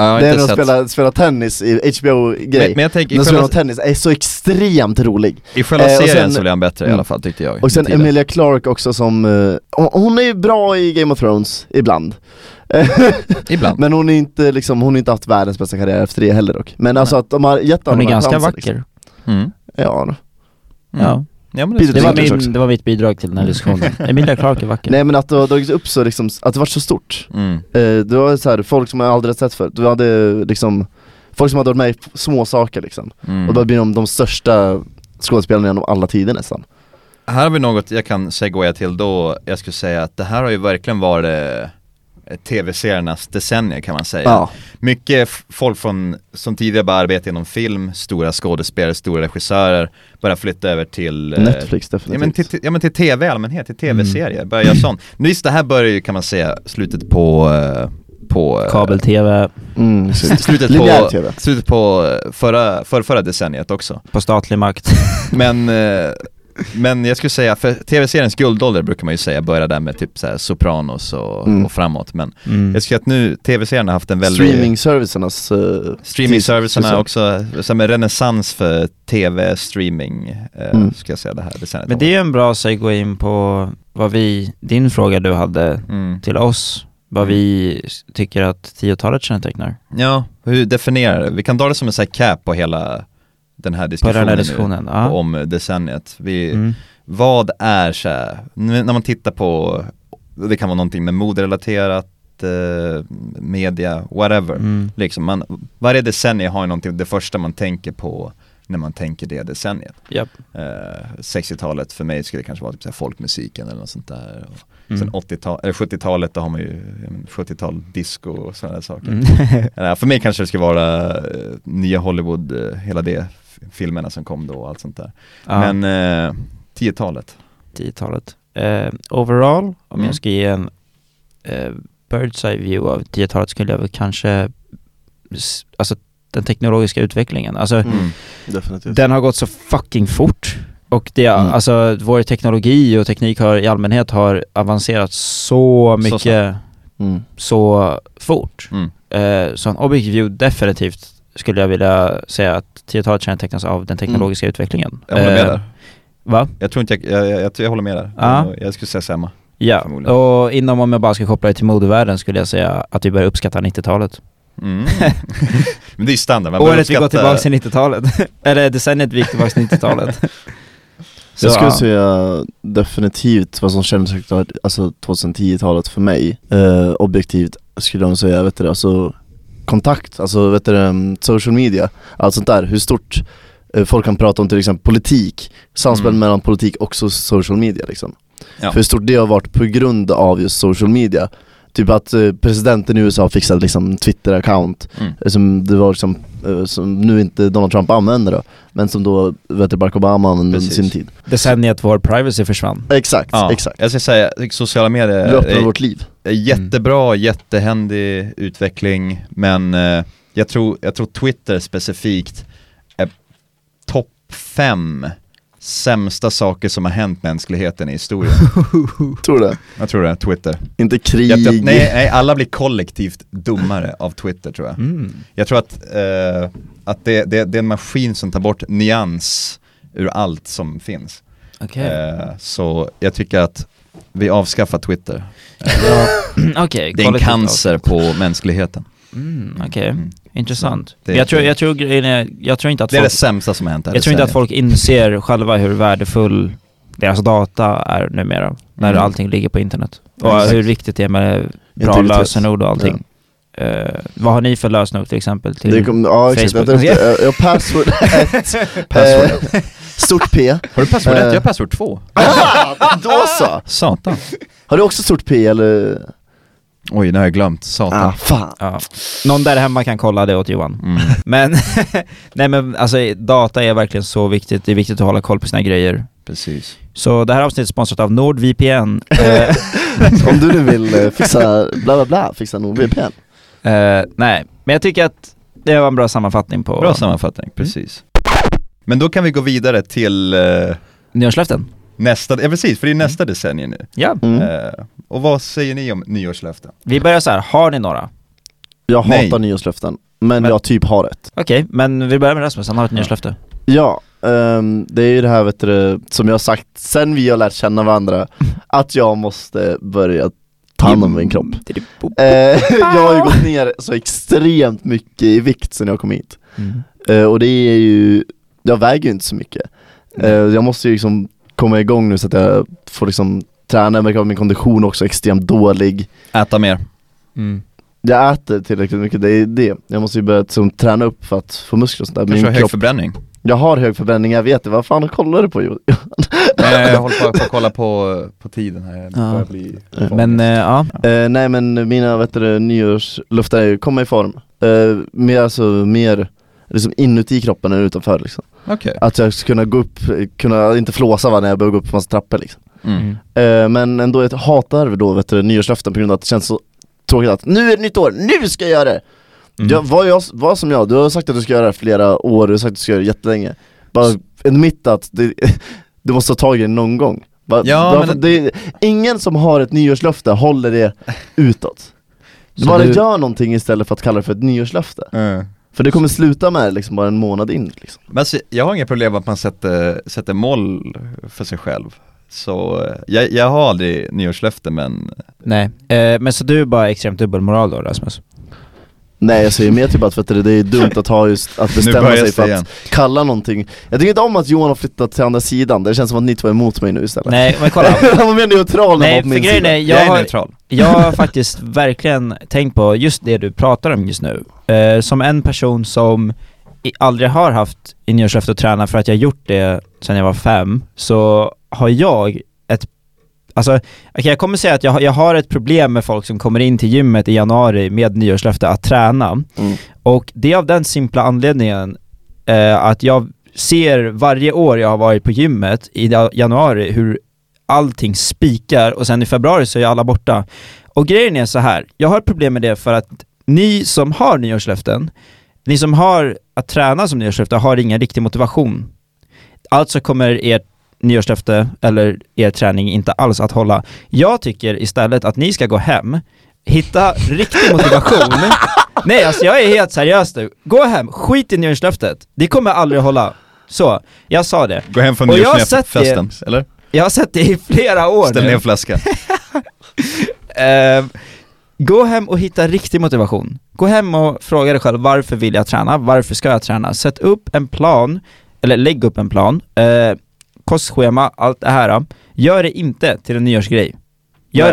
Speaker 3: Ja, jag har
Speaker 1: Det är
Speaker 3: inte
Speaker 1: när de
Speaker 3: sett.
Speaker 1: spelar, spelar tennis i
Speaker 3: men,
Speaker 1: HBO-grej
Speaker 3: men jag tänker, i
Speaker 1: När de spelar
Speaker 3: själva,
Speaker 1: tennis, är så extremt rolig
Speaker 3: i själva
Speaker 1: eh, och
Speaker 3: serien
Speaker 1: sen-
Speaker 3: så blev han bättre i
Speaker 1: Mm.
Speaker 3: alla fall tyckte jag.
Speaker 1: Och sen
Speaker 3: med tiden.
Speaker 1: Emilia Clarke också som, eh, hon- hon är ju bra i Game of Thrones, ibland
Speaker 3: Ibland.
Speaker 1: Men hon är inte liksom, hon har inte haft världens bästa karriär efter det heller dock Men alltså att de har gett
Speaker 2: Hon är
Speaker 1: honom den här
Speaker 2: ganska
Speaker 1: chansen, liksom.
Speaker 2: vacker.
Speaker 3: Mm.
Speaker 1: Ja, då.
Speaker 3: Mm.
Speaker 2: Ja.
Speaker 3: ja men
Speaker 1: Peter
Speaker 2: Det, var
Speaker 1: Dinklage också.
Speaker 2: min, det var mitt bidrag till den här diskussionen. Emilia Clarke är vacker.
Speaker 1: nej men att det har dragits upp så liksom, att det varit så stort
Speaker 3: Mm.
Speaker 1: Eh, Det var så här, folk som jag aldrig hade sett förut, du hade liksom Folk som hade varit med i små saker liksom,
Speaker 3: Mm.
Speaker 1: och då blir de de största skådespelarna genom alla tider nästan
Speaker 3: Här har vi något jag kan segwaya till då, jag skulle säga att det här har ju verkligen varit eh, tv-seriernas decennier kan man säga. Mycket f- folk från, som tidigare bara arbetade inom film, stora skådespelare, stora regissörer, börjar flytta över till eh,
Speaker 1: Netflix definitivt
Speaker 3: Ja men, till, till- ja men till tv i allmänhet, till tv-serier, börjar göra sånt. Nu Visst det här börjar ju kan man säga slutet på, eh, på eh,
Speaker 2: Kabel-tv
Speaker 1: mm,
Speaker 3: s- Slutet
Speaker 1: Linjär
Speaker 3: på,
Speaker 1: TV
Speaker 3: slutet på eh, förra, för, förra decenniet också.
Speaker 2: på statlig makt.
Speaker 3: Men, eh, men jag skulle säga, för tv-seriens guldålder brukar man ju säga börjar där med typ så här Sopranos och,
Speaker 1: Mm.
Speaker 3: och framåt. Men
Speaker 2: Mm.
Speaker 3: jag skulle säga att nu, tv-serien har haft en väldigt
Speaker 1: Streaming-servicernas eh,
Speaker 3: Streaming-servicerna
Speaker 1: Precis.
Speaker 3: också, som en renässans för tv-streaming, eh,
Speaker 1: Mm.
Speaker 3: ska jag säga det här decenniet.
Speaker 2: Men det är ju en bra segue in på vad vi, din fråga du hade
Speaker 3: mm.
Speaker 2: till oss, vad vi s- tycker att 10-talet kännetecknar
Speaker 3: Ja, hur definierar du? Vi kan dra det som en sån här cap på hela den här
Speaker 2: på
Speaker 3: diskussionen,
Speaker 2: den här
Speaker 3: nu,
Speaker 2: diskussionen.
Speaker 3: på-
Speaker 2: Ja.
Speaker 3: om decenniet. Vi,
Speaker 2: Mm.
Speaker 3: Vad är så här, n- när man tittar på Det kan vara någonting med moderelaterat, eh, media, whatever.
Speaker 2: Mm.
Speaker 3: Liksom man, varje decennium har ju någonting, det första man tänker på när man tänker det decenniet.
Speaker 2: Japp.
Speaker 3: Eh, 60-talet för mig skulle det kanske vara typ så här folkmusiken eller något sånt där. Och
Speaker 2: Mm.
Speaker 3: Sen 80-tal, eller 70-talet, då har man ju ja, men 70-tal disco och sådana där saker.
Speaker 2: Mm.
Speaker 3: Eller, för mig kanske det skulle vara eh, nya Hollywood, eh, hela det, f- filmerna som kom då och allt sånt där.
Speaker 2: ja,
Speaker 3: Men eh, 10-talet,
Speaker 2: 10-talet. Eh, overall, om
Speaker 3: Mm.
Speaker 2: jag ska ge en eh, bird's eye view av 10-talet skulle jag väl kanske, s- alltså den teknologiska utvecklingen. Alltså
Speaker 3: Mm.
Speaker 1: Definitivt.
Speaker 2: Den har gått så fucking fort. Och det,
Speaker 1: Mm.
Speaker 2: alltså vår teknologi och teknik har i allmänhet har avancerat så mycket så,
Speaker 1: Mm.
Speaker 2: fort.
Speaker 3: Mm.
Speaker 2: Eh, så en objektiv view definitivt skulle jag vilja säga att 10-talet kännetecknas av den teknologiska utvecklingen.
Speaker 3: Mm. jag håller med
Speaker 2: Eh,
Speaker 3: där.
Speaker 2: Va?
Speaker 3: Jag tror inte jag, jag, jag, jag, tror jag håller med där.
Speaker 2: Ja.
Speaker 3: Jag skulle säga samma.
Speaker 2: Ja,
Speaker 3: Förmodligen.
Speaker 2: och inom om jag bara ska koppla det till modevärlden skulle jag säga att vi börjar uppskatta 90-talet.
Speaker 3: Mm. Men det är ju standard, man börjar
Speaker 2: Året vi går tillbaka
Speaker 3: uppskatta-
Speaker 2: till 90-talet. Eller decenniet vi gick tillbaka till 90-talet. Så,
Speaker 1: jag skulle
Speaker 2: ja.
Speaker 1: säga definitivt vad som kännetecknar alltså 2010-talet för mig, eh, objektivt skulle jag nog säga, vet du det, alltså kontakt, alltså vet du det, mm, social media, allt sånt där, hur stort eh, folk kan prata om till exempel politik, samspel
Speaker 3: Mm.
Speaker 1: mellan politik och so- social media liksom.
Speaker 3: Ja.
Speaker 1: För hur stort det har varit på grund av just social media. Typ att eh, presidenten i USA fixade liksom Twitter-account
Speaker 3: Mm.
Speaker 1: eh, som det var liksom, eh, som nu inte Donald Trump använder då, men som då vet du, Barack Obama använde under
Speaker 3: Precis.
Speaker 1: sin tid.
Speaker 2: Decenniet vår privacy försvann.
Speaker 1: Exakt,
Speaker 3: Ja, Eh,
Speaker 1: exakt.
Speaker 3: Jag ska säga, sociala medier
Speaker 1: Du öppnar
Speaker 3: är
Speaker 1: vårt Mm. liv.
Speaker 3: är jättebra, jättehändig utveckling, men eh, jag, tror, jag tror Twitter specifikt är topp fem sämsta saker som har hänt mänskligheten i historien.
Speaker 1: Tror du det?
Speaker 3: jag tror det, Twitter.
Speaker 1: Inte krig.
Speaker 3: Jag, jag, nej, nej, alla blir kollektivt dummare av Twitter tror jag.
Speaker 2: Mm.
Speaker 3: Jag tror att, eh, att det, det, det är en maskin som tar bort nyans ur allt som finns.
Speaker 2: Okej.
Speaker 3: Eh, så jag tycker att vi avskaffar Twitter.
Speaker 2: Ja, Okej,
Speaker 3: Det är en
Speaker 2: kollektivt
Speaker 3: cancer på mänskligheten.
Speaker 2: avtal. Mm, Okej,
Speaker 3: Mm.
Speaker 2: intressant.
Speaker 3: Det-
Speaker 2: Men jag, tror, jag, tror grejen är, jag tror inte att
Speaker 3: Det är det
Speaker 2: folk,
Speaker 3: sämsta som har hänt här
Speaker 2: jag tror inte att
Speaker 3: decenniet.
Speaker 2: folk inser själva hur värdefull deras data är numera. När
Speaker 3: Mm.
Speaker 2: allting ligger på internet. Och
Speaker 1: Exakt.
Speaker 2: hur viktigt det är med bra
Speaker 1: Integritet.
Speaker 2: lösenord och allting. Eh, vad har ni för lösenord till exempel? Till,
Speaker 1: det kom, ja exakt,
Speaker 2: Facebook.
Speaker 1: vänta efter, ja, password 1,
Speaker 2: Eh,
Speaker 3: Password
Speaker 1: stort P.
Speaker 3: Har du password ett?
Speaker 1: Eh.
Speaker 3: Jag har password två.
Speaker 1: Ah, då så!
Speaker 3: Satan.
Speaker 1: Har du också stort P eller?
Speaker 3: Oj, nu har jag glömt. Satan.
Speaker 1: Ah, fan.
Speaker 2: ja. Någon där hemma kan kolla det åt Johan.
Speaker 3: Mm.
Speaker 2: Men, nej men alltså data är verkligen så viktigt. Det är viktigt att hålla koll på sina grejer.
Speaker 3: Precis.
Speaker 2: Så det här avsnittet är sponsrat av NordVPN. Eh,
Speaker 1: Om du nu vill eh, fixa bla bla bla, fixa nog VPN.
Speaker 2: Eh, nej, men jag tycker att det var en bra sammanfattning på
Speaker 3: Bra Mm. sammanfattning, precis. Men då kan vi gå vidare till eh,
Speaker 2: nyårslöften.
Speaker 3: nästa, ja precis, för det är nästa decennium nu.
Speaker 2: Ja,
Speaker 1: Mm.
Speaker 3: Eh, och vad säger ni om nyårslöften?
Speaker 2: vi börjar så här. har ni några?
Speaker 1: Jag
Speaker 3: nej.
Speaker 1: hatar nyårslöften, men,
Speaker 2: Men-
Speaker 1: jag typ har ett.
Speaker 2: Okej, men vi börjar med Rasmus, han har ett nyårslöfte.
Speaker 1: Ja, ehm, det är ju det här vet du, som jag har sagt sen vi har lärt känna varandra, att jag måste börja ta hand om min kropp. Eh, jag har ju gått ner så extremt mycket i vikt sen jag kom hit.
Speaker 2: Mm.
Speaker 1: Eh, och det är ju, jag väger ju inte så mycket. Eh, jag måste ju liksom komma igång nu så att jag får liksom träna, men min kondition är också extremt dålig.
Speaker 3: Äta mer.
Speaker 2: Mm.
Speaker 1: Jag äter tillräckligt mycket, det är det. Jag måste ju börja liksom, träna upp för att få muskler och sånt där.
Speaker 3: Kanske ha
Speaker 1: Min
Speaker 3: hög
Speaker 1: kropp,
Speaker 3: förbränning.
Speaker 1: jag har hög förbränning, jag vet det. Vad fan kollar du på Johan?
Speaker 3: Nej, jag håller på att kolla på, på tiden här. Jag börjar bli
Speaker 2: Men eh, ja,
Speaker 1: Eh, nej men mina vet du, nyårslöften är ju komma i form. Eh, mer alltså mer liksom inuti kroppen än utanför liksom.
Speaker 3: Okej.
Speaker 1: Att jag ska kunna gå upp, kunna inte flåsa va, när jag behöver gå upp på massa trappor liksom.
Speaker 3: Mm.
Speaker 1: Eh, men ändå jag hatar då vet du, nyårslöften på grund av att det känns så tråkigt att nu är det nytt år, nu ska jag göra det!
Speaker 2: Mm.
Speaker 1: Jag, var, jag, var som jag, du har sagt att du ska göra det här flera år, du har sagt att du ska göra det jättelänge Bara en mitt att det, du måste ta tag i det någon gång Bara,
Speaker 3: Ja,
Speaker 1: bara
Speaker 3: men
Speaker 1: för att det, Ingen som har ett nyårslöfte håller det utåt
Speaker 2: Så
Speaker 1: Bara
Speaker 2: du-
Speaker 1: gör någonting istället för att kalla det för ett nyårslöfte
Speaker 3: Mm.
Speaker 1: För det kommer sluta med det liksom bara en månad in liksom.
Speaker 3: Men alltså, jag har inga problem med att man sätter, sätter mål för sig själv. Så eh, jag, jag har aldrig nyårslöfte men
Speaker 2: nej. Eh, men så du är bara extremt dubbelmoral då Rasmus?
Speaker 1: Nej jag säger mer typ att för att det det är dumt att ha just, att bestämma
Speaker 3: börjar
Speaker 1: sig för att
Speaker 3: det igen.
Speaker 1: kalla någonting Jag tycker inte om att Johan har flyttat till andra sidan, det känns som att ni två är emot mig nu istället
Speaker 2: Nej men kolla,
Speaker 1: Han var mer neutral än
Speaker 2: Nej,
Speaker 1: var på
Speaker 2: för
Speaker 1: min
Speaker 2: grejen
Speaker 1: sida
Speaker 2: är,
Speaker 3: Jag,
Speaker 2: jag
Speaker 3: är
Speaker 2: har,
Speaker 3: neutral.
Speaker 2: jag har faktiskt verkligen tänkt på just det du pratar om just nu. Eh, som en person som i- aldrig har haft ingenjörsluft att träna för att jag gjort det sedan jag var fem, så har jag ett Alltså, okej, jag kommer säga att jag, har- jag har ett problem med folk som kommer in till gymmet i januari med nyårslöfte att träna.
Speaker 1: Mm.
Speaker 2: Och det är av den simpla anledningen eh, att jag ser varje år jag har varit på gymmet i da- januari hur allting spikar och sen i februari så är alla borta. Och grejen är så här, jag har ett problem med det för att ni som har nyårslöften, ni som har att träna som nyårslöfte har ingen riktig motivation. Alltså kommer ert nyårslöfte eller er träning inte alls att hålla. Jag tycker istället att ni ska gå hem, hitta riktig motivation. Nej alltså jag är helt seriös nu. Gå hem, skit i nyårslöftet. Det kommer aldrig hålla. Så, jag sa det.
Speaker 3: Gå hem från
Speaker 2: Och jag har
Speaker 3: nyårsfesten, eller?
Speaker 2: Jag har sett det i flera år
Speaker 3: Ställ
Speaker 2: nu.
Speaker 3: ner en flaska.
Speaker 2: Eh, gå hem och hitta riktig motivation. Gå hem och fråga dig själv varför vill jag träna? Varför ska jag träna? Sätt upp en plan, eller lägg upp en plan, eh, kostschema, allt det här. Gör det inte till en nyårsgrej. Gör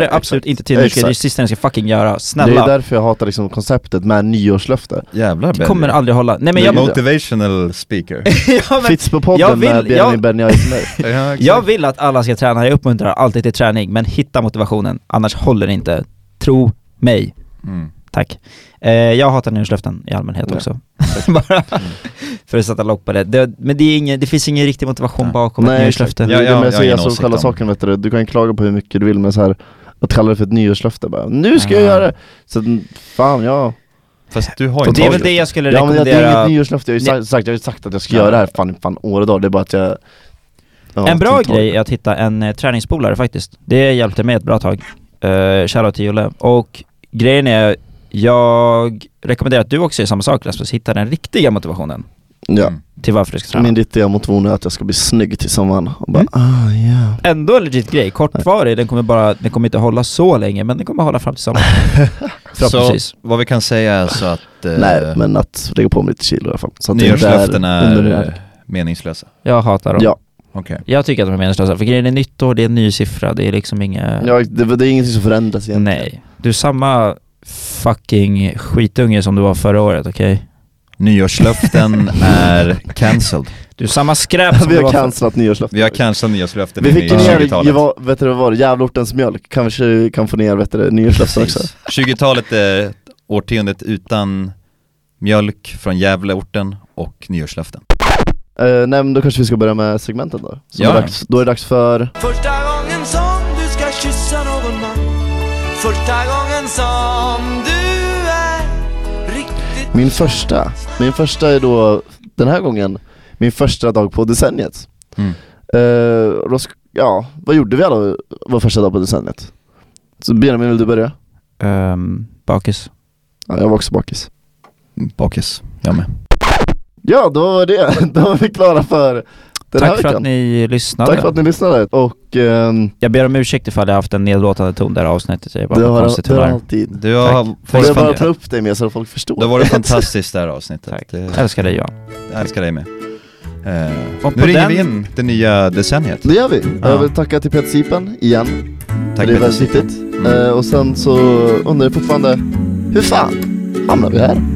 Speaker 1: Nej,
Speaker 2: det absolut inte till en
Speaker 1: Exakt.
Speaker 2: nyårsgrej, det är det sista ni ska fucking göra.
Speaker 1: Det är
Speaker 2: Snälla,
Speaker 1: därför jag hatar liksom konceptet med nyårslöfte
Speaker 3: Jävlar
Speaker 2: det kommer aldrig hålla. Nej men jag...
Speaker 3: Motivational speaker.
Speaker 2: ja, men,
Speaker 1: Fits på podden
Speaker 2: jag vill-
Speaker 1: med Benjamin
Speaker 2: jag-
Speaker 1: Benjamin Eisenberg
Speaker 3: ja, exakt.
Speaker 2: jag vill att alla ska träna, jag uppmuntrar alltid till träning, men hitta motivationen, annars håller det inte. Tro mig.
Speaker 3: Mm.
Speaker 2: Tack. Eh, jag hatar nyårslöften i allmänhet
Speaker 1: Ja.
Speaker 2: också. Bara för att sätta lock på det. det men det, är ingen, det finns ingen riktig motivation
Speaker 3: Nej.
Speaker 2: bakom ett nyårslöfte.
Speaker 1: exakt.
Speaker 3: Ja,
Speaker 1: det är det
Speaker 3: ja, jag
Speaker 1: jag
Speaker 3: har
Speaker 1: säger,
Speaker 3: ingen
Speaker 1: alltså
Speaker 3: åsikt
Speaker 1: själva
Speaker 3: om.
Speaker 1: saken vet du, du kan klaga på hur mycket du vill men så här att kalla det för ett nyårslöfte bara, nu ska jag
Speaker 2: Ja.
Speaker 1: göra det! Så att, fan ja,
Speaker 3: Fast du har ju
Speaker 2: Och det är väl
Speaker 3: inte-
Speaker 2: det jag skulle
Speaker 1: ja men det är
Speaker 2: rekommendera.
Speaker 1: inget nyårslöfte, jag har ju sagt, sagt, jag har ju sagt att jag ska göra det här fan, fan år och dag, det är bara att jag ja,
Speaker 2: en bra
Speaker 1: att jag tar-
Speaker 2: grej är att hitta en eh, träningspolare faktiskt. Det hjälpte mig ett bra tag. Uh, shoutout till Julle. Och grejen är, jag rekommenderar att du också gör samma sak Rasmus, hitta den riktiga motivationen
Speaker 1: Ja,
Speaker 3: Mm.
Speaker 2: till varför du ska träna.
Speaker 1: min riktiga motivation är att jag ska bli snygg till sommaren och bara
Speaker 2: Mm.
Speaker 1: ah yeah
Speaker 2: Ändå en legit grej, kortvarig, den kommer, bara, den kommer inte hålla så länge men den kommer hålla fram till sommaren.
Speaker 3: Så
Speaker 2: Förhoppningsvis.
Speaker 3: vad vi kan säga är så att eh,
Speaker 1: Nej men att lägga på mig lite kilo i alla fall så att det inte
Speaker 3: nyårslöften är
Speaker 1: undernärd.
Speaker 3: eh, meningslösa.
Speaker 2: Jag hatar dem.
Speaker 1: Ja,
Speaker 3: Okej.
Speaker 2: Jag tycker att de är meningslösa, för grejen är nytt år, det är en ny siffra, det är liksom inga...
Speaker 1: ja det, det är ingenting som förändras egentligen
Speaker 2: Nej. Du är samma fucking skitunge som du var förra året, okej?
Speaker 3: Nyårslöften är cancelled.
Speaker 2: Du är samma skräp som
Speaker 1: Vi
Speaker 2: du
Speaker 1: har
Speaker 2: var förra
Speaker 1: cancelat nyårslöften
Speaker 3: Vi har cancellat nyårslöften
Speaker 1: Vi
Speaker 3: in
Speaker 1: fick
Speaker 3: i
Speaker 1: ju ner,
Speaker 3: 20-talet.
Speaker 1: ju vad- vet du vad var det, Jävlaortens mjölk, kanske kan få ner vet du, nyårslöften också
Speaker 3: Precis. 20-talet är årtiondet utan mjölk från Gävleorten och nyårslöften.
Speaker 1: uh, Nej men då kanske vi ska börja med segmenten då, så
Speaker 3: Ja.
Speaker 1: är det dags, då är det dags för
Speaker 4: Första gången som du ska kyssa någon man Första gången som du är riktigt
Speaker 1: min första Min första är då, den här gången, min första dag på decenniet
Speaker 3: Mm.
Speaker 1: Eh, och då sk- Ja, vad gjorde vi alla vår första dag på decenniet? Så Benjamin, vill du börja?
Speaker 2: året. Ehm, bakis.
Speaker 1: Ja, jag var också bakis
Speaker 3: Bakis, jag med.
Speaker 1: Ja, då var det, då var vi klara för den här
Speaker 2: Tack för
Speaker 1: veckan
Speaker 2: att ni lyssnade.
Speaker 1: Tack för att ni lyssnade och ehm,
Speaker 2: Jag ber om ursäkt ifall jag haft en nedlåtande ton där i avsnittet, jag är
Speaker 1: det
Speaker 2: bara
Speaker 1: har,
Speaker 2: konstigt
Speaker 1: det har
Speaker 2: humör.
Speaker 1: alltid
Speaker 3: Du har
Speaker 1: Jag
Speaker 3: varit,
Speaker 1: vill bara ta
Speaker 3: fan...
Speaker 1: upp dig mer så att folk förstår
Speaker 3: du har varit fantastiskt det här avsnittet.
Speaker 2: Tack.
Speaker 3: Det-
Speaker 2: Jag älskar dig Johan.
Speaker 3: Jag älskar dig med. Eh,
Speaker 2: Och på
Speaker 3: nu ringer
Speaker 2: den-
Speaker 3: vi in det nya decenniet.
Speaker 1: Det gör vi.
Speaker 3: Ja.
Speaker 1: Jag vill tacka till Peter Sipen igen.
Speaker 3: Tack
Speaker 1: det är
Speaker 3: Peter
Speaker 1: väldigt
Speaker 3: Sipen.
Speaker 1: viktigt.
Speaker 3: Mm.
Speaker 1: Eh, och sen så undrar jag fortfarande, hur fan hamnar vi här?